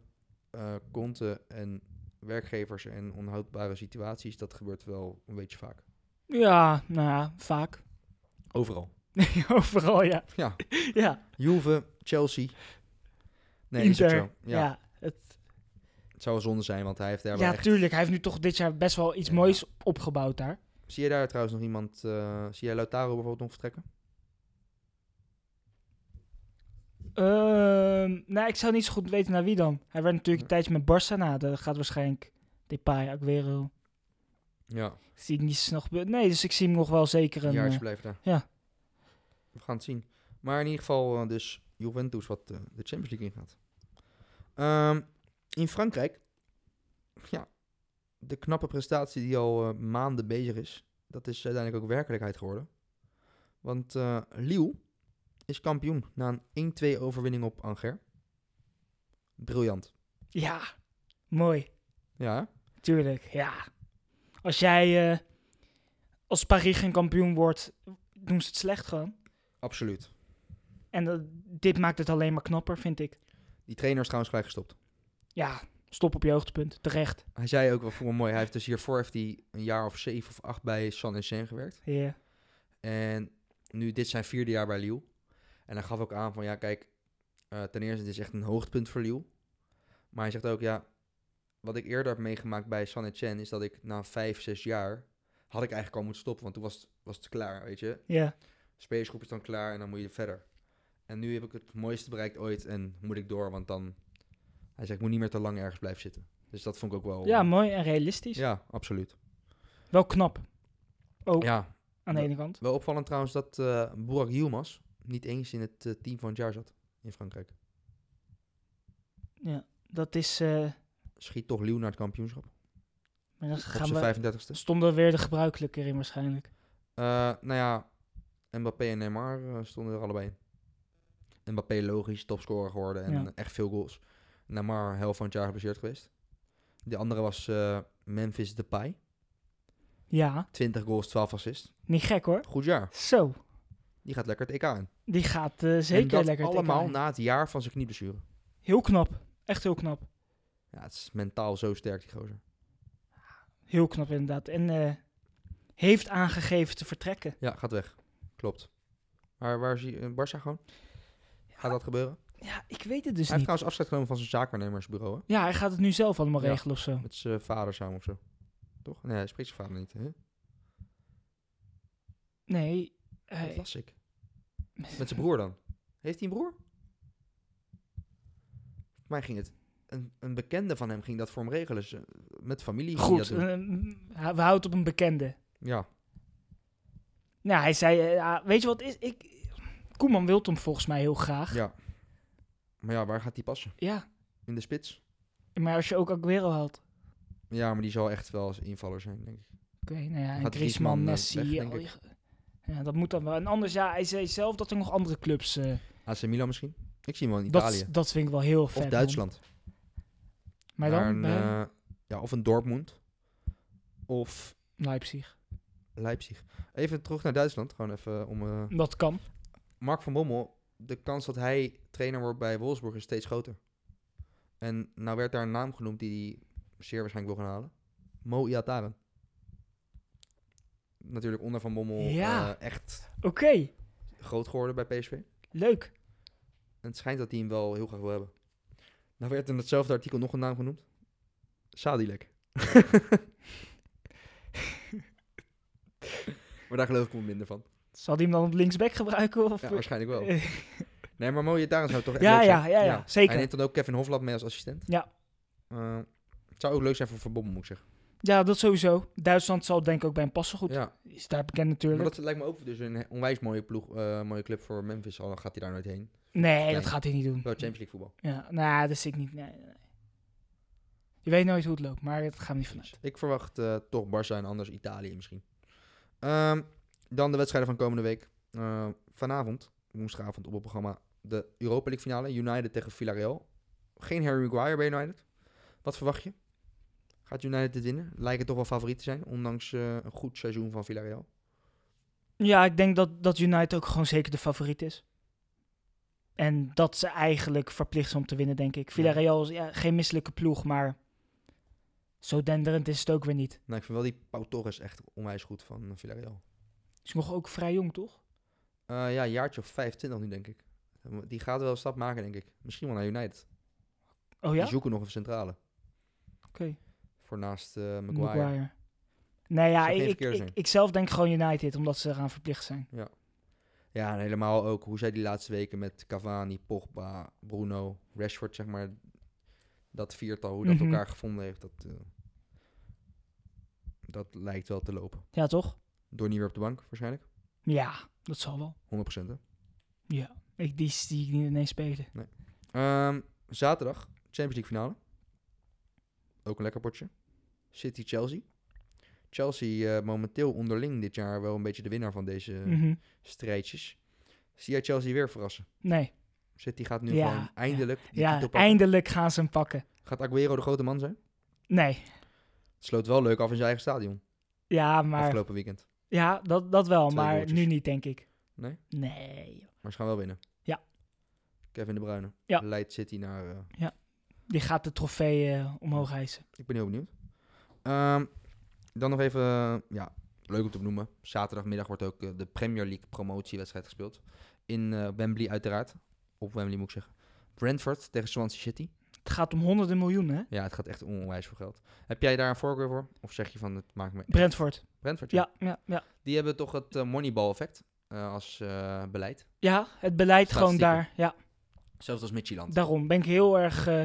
Speaker 1: eh Conte en werkgevers en onhoudbare situaties, dat gebeurt wel een beetje vaak.
Speaker 2: Ja, nou ja, vaak.
Speaker 1: Overal.
Speaker 2: Overal, ja.
Speaker 1: Ja,
Speaker 2: Ja,
Speaker 1: Juve, Chelsea. Nee, is het
Speaker 2: Inter,
Speaker 1: zo. Ja,
Speaker 2: ja. Het,
Speaker 1: Het zou wel zonde zijn, want hij heeft daar
Speaker 2: ja,
Speaker 1: wel echt...
Speaker 2: tuurlijk. Hij heeft nu toch dit jaar best wel iets
Speaker 1: Ja.
Speaker 2: moois opgebouwd daar.
Speaker 1: Zie je daar trouwens nog iemand... eh, zie jij Lautaro bijvoorbeeld nog vertrekken?
Speaker 2: Ehm, nou, ik zou niet zo goed weten naar wie dan. Hij werd natuurlijk
Speaker 1: Ja.
Speaker 2: een tijdje met Barca na. Dat gaat waarschijnlijk Depay, Aguero.
Speaker 1: Ja.
Speaker 2: Zie ik niet zo nog gebeuren. Nee, dus ik zie hem nog wel zeker een...
Speaker 1: Jaartje
Speaker 2: eh,
Speaker 1: blijft daar.
Speaker 2: ja.
Speaker 1: We gaan het zien. Maar in ieder geval eh, dus Juventus wat eh, de Champions League ingaat. Ehm, in Frankrijk, ja, de knappe prestatie die al eh, maanden bezig is, dat is uiteindelijk ook werkelijkheid geworden. Want eh Lille is kampioen na een 1-2 overwinning op Angers. Briljant.
Speaker 2: ja, mooi.
Speaker 1: Ja,
Speaker 2: Tuurlijk, ja. Als jij... eh, als Paris geen kampioen wordt, doen ze het slecht gewoon.
Speaker 1: absoluut.
Speaker 2: En dat- dit maakt het alleen maar knapper, vind ik.
Speaker 1: Die trainer is trouwens gelijk gestopt.
Speaker 2: Ja, stop op je hoogtepunt. Terecht.
Speaker 1: Hij zei ook wel voor me mooi. Hij heeft dus hiervoor heeft hij een jaar of zeven of acht bij San Etienne gewerkt.
Speaker 2: Ja.
Speaker 1: En nu dit zijn vierde jaar bij Lille. En hij gaf ook aan van ja, kijk, eh, ten eerste dit is echt een hoogtepunt voor Lille. Maar hij zegt ook ja, wat ik eerder heb meegemaakt bij San Etienne is dat ik na vijf, zes jaar had ik eigenlijk al moeten stoppen, want toen was het, was het klaar, weet je.
Speaker 2: Ja.
Speaker 1: spelersgroep is dan klaar en dan moet je verder. En nu heb ik het mooiste bereikt ooit en moet ik door, want dan... Hij zegt, ik moet niet meer te lang ergens blijven zitten. Dus dat vond ik ook wel...
Speaker 2: ja, mooi en realistisch.
Speaker 1: Ja, absoluut.
Speaker 2: Wel knap, Oh.
Speaker 1: Ja,
Speaker 2: aan de
Speaker 1: Ja.
Speaker 2: ene kant.
Speaker 1: wel opvallend trouwens dat eh Burak Yilmaz niet eens in het eh, team van het jaar zat in Frankrijk.
Speaker 2: Dat is... eh,
Speaker 1: Schiet toch Lille naar het kampioenschap.
Speaker 2: maar dan
Speaker 1: op
Speaker 2: gaan we...
Speaker 1: zijn 35ste.
Speaker 2: Stonden weer de gebruikelijke in waarschijnlijk.
Speaker 1: Eh, nou ja, Mbappé en Neymar eh, stonden er allebei in. Mbappé logisch, topscorer geworden en
Speaker 2: Ja.
Speaker 1: echt veel goals. Neymar, helft van het jaar geblesseerd geweest. De andere was eh Memphis Depay.
Speaker 2: Ja,
Speaker 1: 20 goals, 12 assists.
Speaker 2: niet gek hoor.
Speaker 1: Goed jaar.
Speaker 2: Zo,
Speaker 1: Die gaat lekker het EK in.
Speaker 2: die gaat eh, zeker
Speaker 1: en dat
Speaker 2: lekker het EK
Speaker 1: allemaal
Speaker 2: in.
Speaker 1: na het jaar van zijn knieblessure.
Speaker 2: Heel knap, echt heel knap.
Speaker 1: Ja, het is mentaal zo sterk, die gozer.
Speaker 2: Heel knap inderdaad. En eh, heeft aangegeven te vertrekken.
Speaker 1: Ja, gaat weg. Klopt. Maar waar is hij? in Barça gewoon? Gaat dat gebeuren? Hij
Speaker 2: Ja, ik weet het
Speaker 1: heeft
Speaker 2: dus niet.
Speaker 1: trouwens afscheid genomen van zijn zaakwaarnemersbureau. Hè?
Speaker 2: Ja, hij gaat het nu zelf allemaal
Speaker 1: Ja.
Speaker 2: regelen of zo.
Speaker 1: Met zijn vader samen of zo. Toch? Nee, hij spreekt zijn vader niet. Hè?
Speaker 2: Nee, eh,
Speaker 1: Dat las ik. Met zijn broer dan. Heeft hij een broer? Voor mij ging het. Een, een bekende van hem ging dat voor hem regelen. Ze- Met familie. ging
Speaker 2: goed.
Speaker 1: hij dat doen.
Speaker 2: eh, we houden het op een bekende.
Speaker 1: ja.
Speaker 2: Nou, hij zei, eh, ja, weet je wat is? Ik, Koeman wil hem volgens mij heel graag.
Speaker 1: Ja. Maar ja, waar gaat die passen?
Speaker 2: Ja,
Speaker 1: In de spits?
Speaker 2: maar als je ook Aguero haalt.
Speaker 1: Ja, maar die zal echt wel als invaller zijn, denk ik.
Speaker 2: Oké, nou ja, en
Speaker 1: Gaat
Speaker 2: Griezmann,
Speaker 1: Griezmann, eh,
Speaker 2: Messi.
Speaker 1: weg, denk
Speaker 2: al die
Speaker 1: ik.
Speaker 2: ge- ja, dat moet dan wel. En anders, ja, hij zei zelf dat er nog andere clubs... eh,
Speaker 1: AC Milan misschien? Ik zie hem wel in Italië.
Speaker 2: dat, dat vind ik wel heel vet.
Speaker 1: of
Speaker 2: man.
Speaker 1: Duitsland.
Speaker 2: Maar
Speaker 1: Naar
Speaker 2: dan
Speaker 1: een,
Speaker 2: bij
Speaker 1: eh, ja, of een Dortmund. Of
Speaker 2: Leipzig.
Speaker 1: Leipzig. Even terug naar Duitsland. Gewoon even om... eh,
Speaker 2: Dat kan.
Speaker 1: Mark van Bommel, de kans dat hij trainer wordt bij Wolfsburg is steeds groter. En nou werd daar een naam genoemd die hij zeer waarschijnlijk wil gaan halen. Mo Iataren. Natuurlijk onder Van Bommel
Speaker 2: Ja.
Speaker 1: eh, echt
Speaker 2: Oké,
Speaker 1: groot geworden bij PSV. En
Speaker 2: leuk.
Speaker 1: het schijnt dat hij hem wel heel graag wil hebben. Nou werd in hetzelfde artikel nog een naam genoemd. Sadilek. maar daar geloof ik me minder van.
Speaker 2: Zal hij hem dan op linksback gebruiken? Of...
Speaker 1: Ja, waarschijnlijk wel.
Speaker 2: Eh,
Speaker 1: Nee, maar mooie daarin zou het nou toch echt
Speaker 2: Ja,
Speaker 1: leuk
Speaker 2: ja,
Speaker 1: zijn.
Speaker 2: ja, ja, zeker.
Speaker 1: Hij neemt dan ook Kevin Hofland mee als assistent.
Speaker 2: Ja.
Speaker 1: Eh, het zou ook leuk zijn voor Van Bommel, moet ik zeggen.
Speaker 2: ja, dat sowieso. Duitsland zal denk ik ook bij hem passen. Goed,
Speaker 1: Ja,
Speaker 2: is daar bekend
Speaker 1: maar
Speaker 2: natuurlijk.
Speaker 1: dat lijkt me ook dus een onwijs mooie, ploeg, eh, mooie club voor Memphis. Al dan gaat hij daar nooit heen.
Speaker 2: Nee,
Speaker 1: Nee.
Speaker 2: dat gaat hij niet doen.
Speaker 1: Wel Champions League voetbal.
Speaker 2: Ja, nou, dat zie ik niet. Nee, nee, nee. Je weet nooit hoe het loopt, maar dat gaan we niet vanuit.
Speaker 1: Ik verwacht eh, toch Barça en anders Italië misschien. Ehm, dan de wedstrijden van komende week. Eh, vanavond, woensdagavond op het programma, de Europa League finale. United tegen Villarreal. Geen Harry Maguire bij United. Wat verwacht je? Gaat United dit winnen? Lijken toch wel favoriet te zijn, ondanks eh, een goed seizoen van Villarreal.
Speaker 2: Ja, ik denk dat, dat United ook gewoon zeker de favoriet is. En dat ze eigenlijk verplicht zijn om te winnen, denk ik. Villarreal is ja, geen misselijke ploeg, maar zo denderend is het ook weer niet.
Speaker 1: Nou, ik vind wel die Pau Torres echt onwijs goed van eh, Villarreal.
Speaker 2: Is nog ook vrij jong, toch?
Speaker 1: Eh, ja, een jaartje of 25 nu, denk ik. Die gaat wel een stap maken, denk ik. Misschien wel naar United.
Speaker 2: Oh ja?
Speaker 1: Die zoeken nog een centrale.
Speaker 2: Oké.
Speaker 1: Voor naast eh, Maguire.
Speaker 2: Maguire. Nee, ja,
Speaker 1: Zou geen
Speaker 2: ik,
Speaker 1: verkeer
Speaker 2: ik,
Speaker 1: zijn.
Speaker 2: ik zelf denk gewoon United, omdat ze eraan verplicht zijn.
Speaker 1: Ja, en helemaal ook hoe zij die laatste weken met Cavani, Pogba, Bruno, Rashford, zeg maar. Dat viertal, hoe dat
Speaker 2: Mhm.
Speaker 1: elkaar gevonden heeft, dat, eh, dat lijkt wel te lopen.
Speaker 2: Ja, toch?
Speaker 1: Door niet weer op de bank, waarschijnlijk. 100%,
Speaker 2: Ja, dat zal wel.
Speaker 1: hè.
Speaker 2: Ja, ik, die zie ik niet ineens spelen.
Speaker 1: Ehm, zaterdag, Champions League finale. Ook een lekker potje. City-Chelsea. Chelsea eh, momenteel onderling dit jaar wel een beetje de winnaar van deze
Speaker 2: Mhm.
Speaker 1: strijdjes. Zie jij Chelsea weer verrassen?
Speaker 2: Nee.
Speaker 1: City gaat nu
Speaker 2: Ja,
Speaker 1: gewoon
Speaker 2: ja.
Speaker 1: eindelijk die
Speaker 2: Ja,
Speaker 1: titel pakken.
Speaker 2: eindelijk gaan ze hem pakken.
Speaker 1: Gaat Aguero de grote man zijn?
Speaker 2: Nee.
Speaker 1: Het sloot wel leuk af in zijn eigen stadion
Speaker 2: Ja, maar...
Speaker 1: afgelopen weekend.
Speaker 2: Ja, dat, dat wel,
Speaker 1: Twee
Speaker 2: maar
Speaker 1: doeltjes.
Speaker 2: nu niet, denk ik.
Speaker 1: Nee?
Speaker 2: Nee. joh.
Speaker 1: Maar ze gaan wel winnen.
Speaker 2: Ja.
Speaker 1: Kevin de Bruyne
Speaker 2: Ja.
Speaker 1: leidt City naar... eh,
Speaker 2: Die gaat de trofee eh, omhoog hijsen.
Speaker 1: ik ben heel benieuwd. Ehm, dan nog even... eh, ja, leuk om te benoemen. Zaterdagmiddag wordt ook eh, de Premier League promotiewedstrijd gespeeld. In eh, Wembley uiteraard. Op Wembley moet ik zeggen. Brentford tegen Swansea City.
Speaker 2: Het gaat om honderden miljoenen, hè?
Speaker 1: Ja, het gaat echt onwijs veel geld. Heb jij daar een voorkeur voor? Of zeg je van, het maakt me...
Speaker 2: Brentford.
Speaker 1: Brentford,
Speaker 2: Ja, ja, ja.
Speaker 1: Die hebben toch het eh, moneyball-effect eh, als eh, beleid.
Speaker 2: Ja, het beleid gewoon daar.
Speaker 1: Statistieken.
Speaker 2: Ja,
Speaker 1: Zelfs als Midtjylland.
Speaker 2: daarom ben ik heel erg... eh,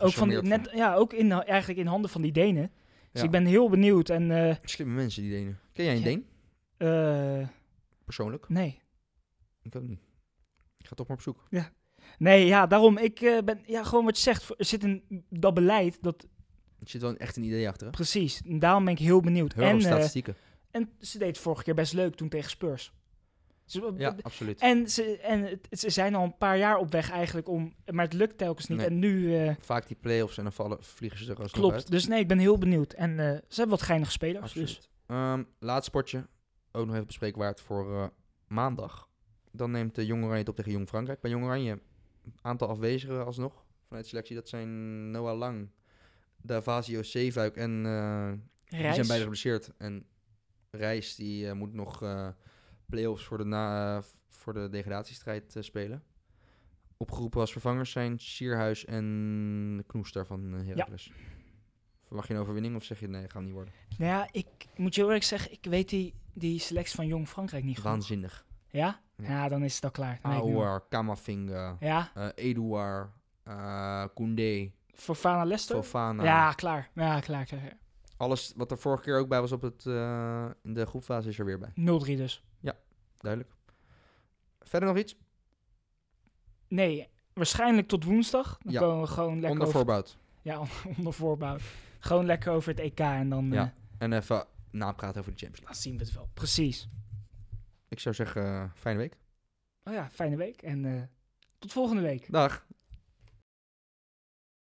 Speaker 2: ook van, die-
Speaker 1: Gecharmeerd
Speaker 2: net, ja, ook in, eigenlijk in handen van die Denen. Dus
Speaker 1: Ja.
Speaker 2: ik ben heel benieuwd. En eh,
Speaker 1: Slimme mensen, die Denen. Ken jij een
Speaker 2: Ja.
Speaker 1: Deen?
Speaker 2: eh,
Speaker 1: Persoonlijk?
Speaker 2: nee.
Speaker 1: Ik ook niet. Ik ga toch maar op zoek.
Speaker 2: Nee, ja, daarom. Ik eh, ben... Ja, gewoon wat je zegt. voor- Er zit een, dat beleid, dat...
Speaker 1: Er zit wel echt een idee achter, hè?
Speaker 2: Precies. En daarom ben ik heel benieuwd.
Speaker 1: Heel veel
Speaker 2: en, eh,
Speaker 1: statistieken.
Speaker 2: en ze deed het vorige keer best leuk toen tegen Spurs. Dus, eh, Ze-
Speaker 1: ja, absoluut.
Speaker 2: En, ze, en het- ze zijn al een paar jaar op weg eigenlijk om... Maar het lukt telkens niet.
Speaker 1: Nee.
Speaker 2: En nu eh,
Speaker 1: Vaak die play-offs en dan vallen, vliegen ze er alsnog uit.
Speaker 2: klopt. Dus nee, ik ben heel benieuwd. En eh, ze hebben wat geinige spelers.
Speaker 1: Absoluut.
Speaker 2: Dus
Speaker 1: Ehm, laatste sportje. Ook nog even bespreken waard voor eh, maandag. Dan neemt de Jong Oranje het op tegen Jong Frankrijk. Bij Jong Oranje, aantal afwezigen alsnog vanuit de selectie. Dat zijn Noah Lang, Davasio Zeefuik en... eh,
Speaker 2: reis.
Speaker 1: Die zijn beide geblesseerd. En Reis die eh, moet nog eh play-offs voor de, na, eh, voor de degradatiestrijd eh, spelen. Opgeroepen als vervangers zijn Sierhuis en Knoes daarvan eh, Heracles. Verwacht je een overwinning of zeg je nee, gaat niet worden?
Speaker 2: Nou ja, ik moet je heel eerlijk zeggen, ik weet die, die selectie van Jong Frankrijk niet goed.
Speaker 1: Waanzinnig.
Speaker 2: Ja?
Speaker 1: Ja.
Speaker 2: Ja, dan is het al klaar. Dan weet ik nu al.
Speaker 1: Aouar, Kamavinga,
Speaker 2: Ja,
Speaker 1: eh Eduard, eh Koundé,
Speaker 2: voor Fana Lester?
Speaker 1: Fofana.
Speaker 2: Ja, klaar. Ja, klaar. klaar, klaar.
Speaker 1: Alles wat er vorige keer ook bij was op het, eh, in de groepfase is er weer bij.
Speaker 2: 0-3 dus.
Speaker 1: Duidelijk. Verder nog iets?
Speaker 2: Nee, waarschijnlijk tot woensdag. Dan
Speaker 1: Ja.
Speaker 2: komen we gewoon lekker
Speaker 1: Onder
Speaker 2: over,
Speaker 1: voorbouw.
Speaker 2: ja, onder voorbouw. Gewoon lekker over het EK en dan
Speaker 1: Ja.
Speaker 2: eh,
Speaker 1: En even napraten over de Champions League.
Speaker 2: dan zien we het wel. Precies.
Speaker 1: Ik zou zeggen, eh, fijne week.
Speaker 2: Oh ja, fijne week en eh, tot volgende week.
Speaker 1: Dag.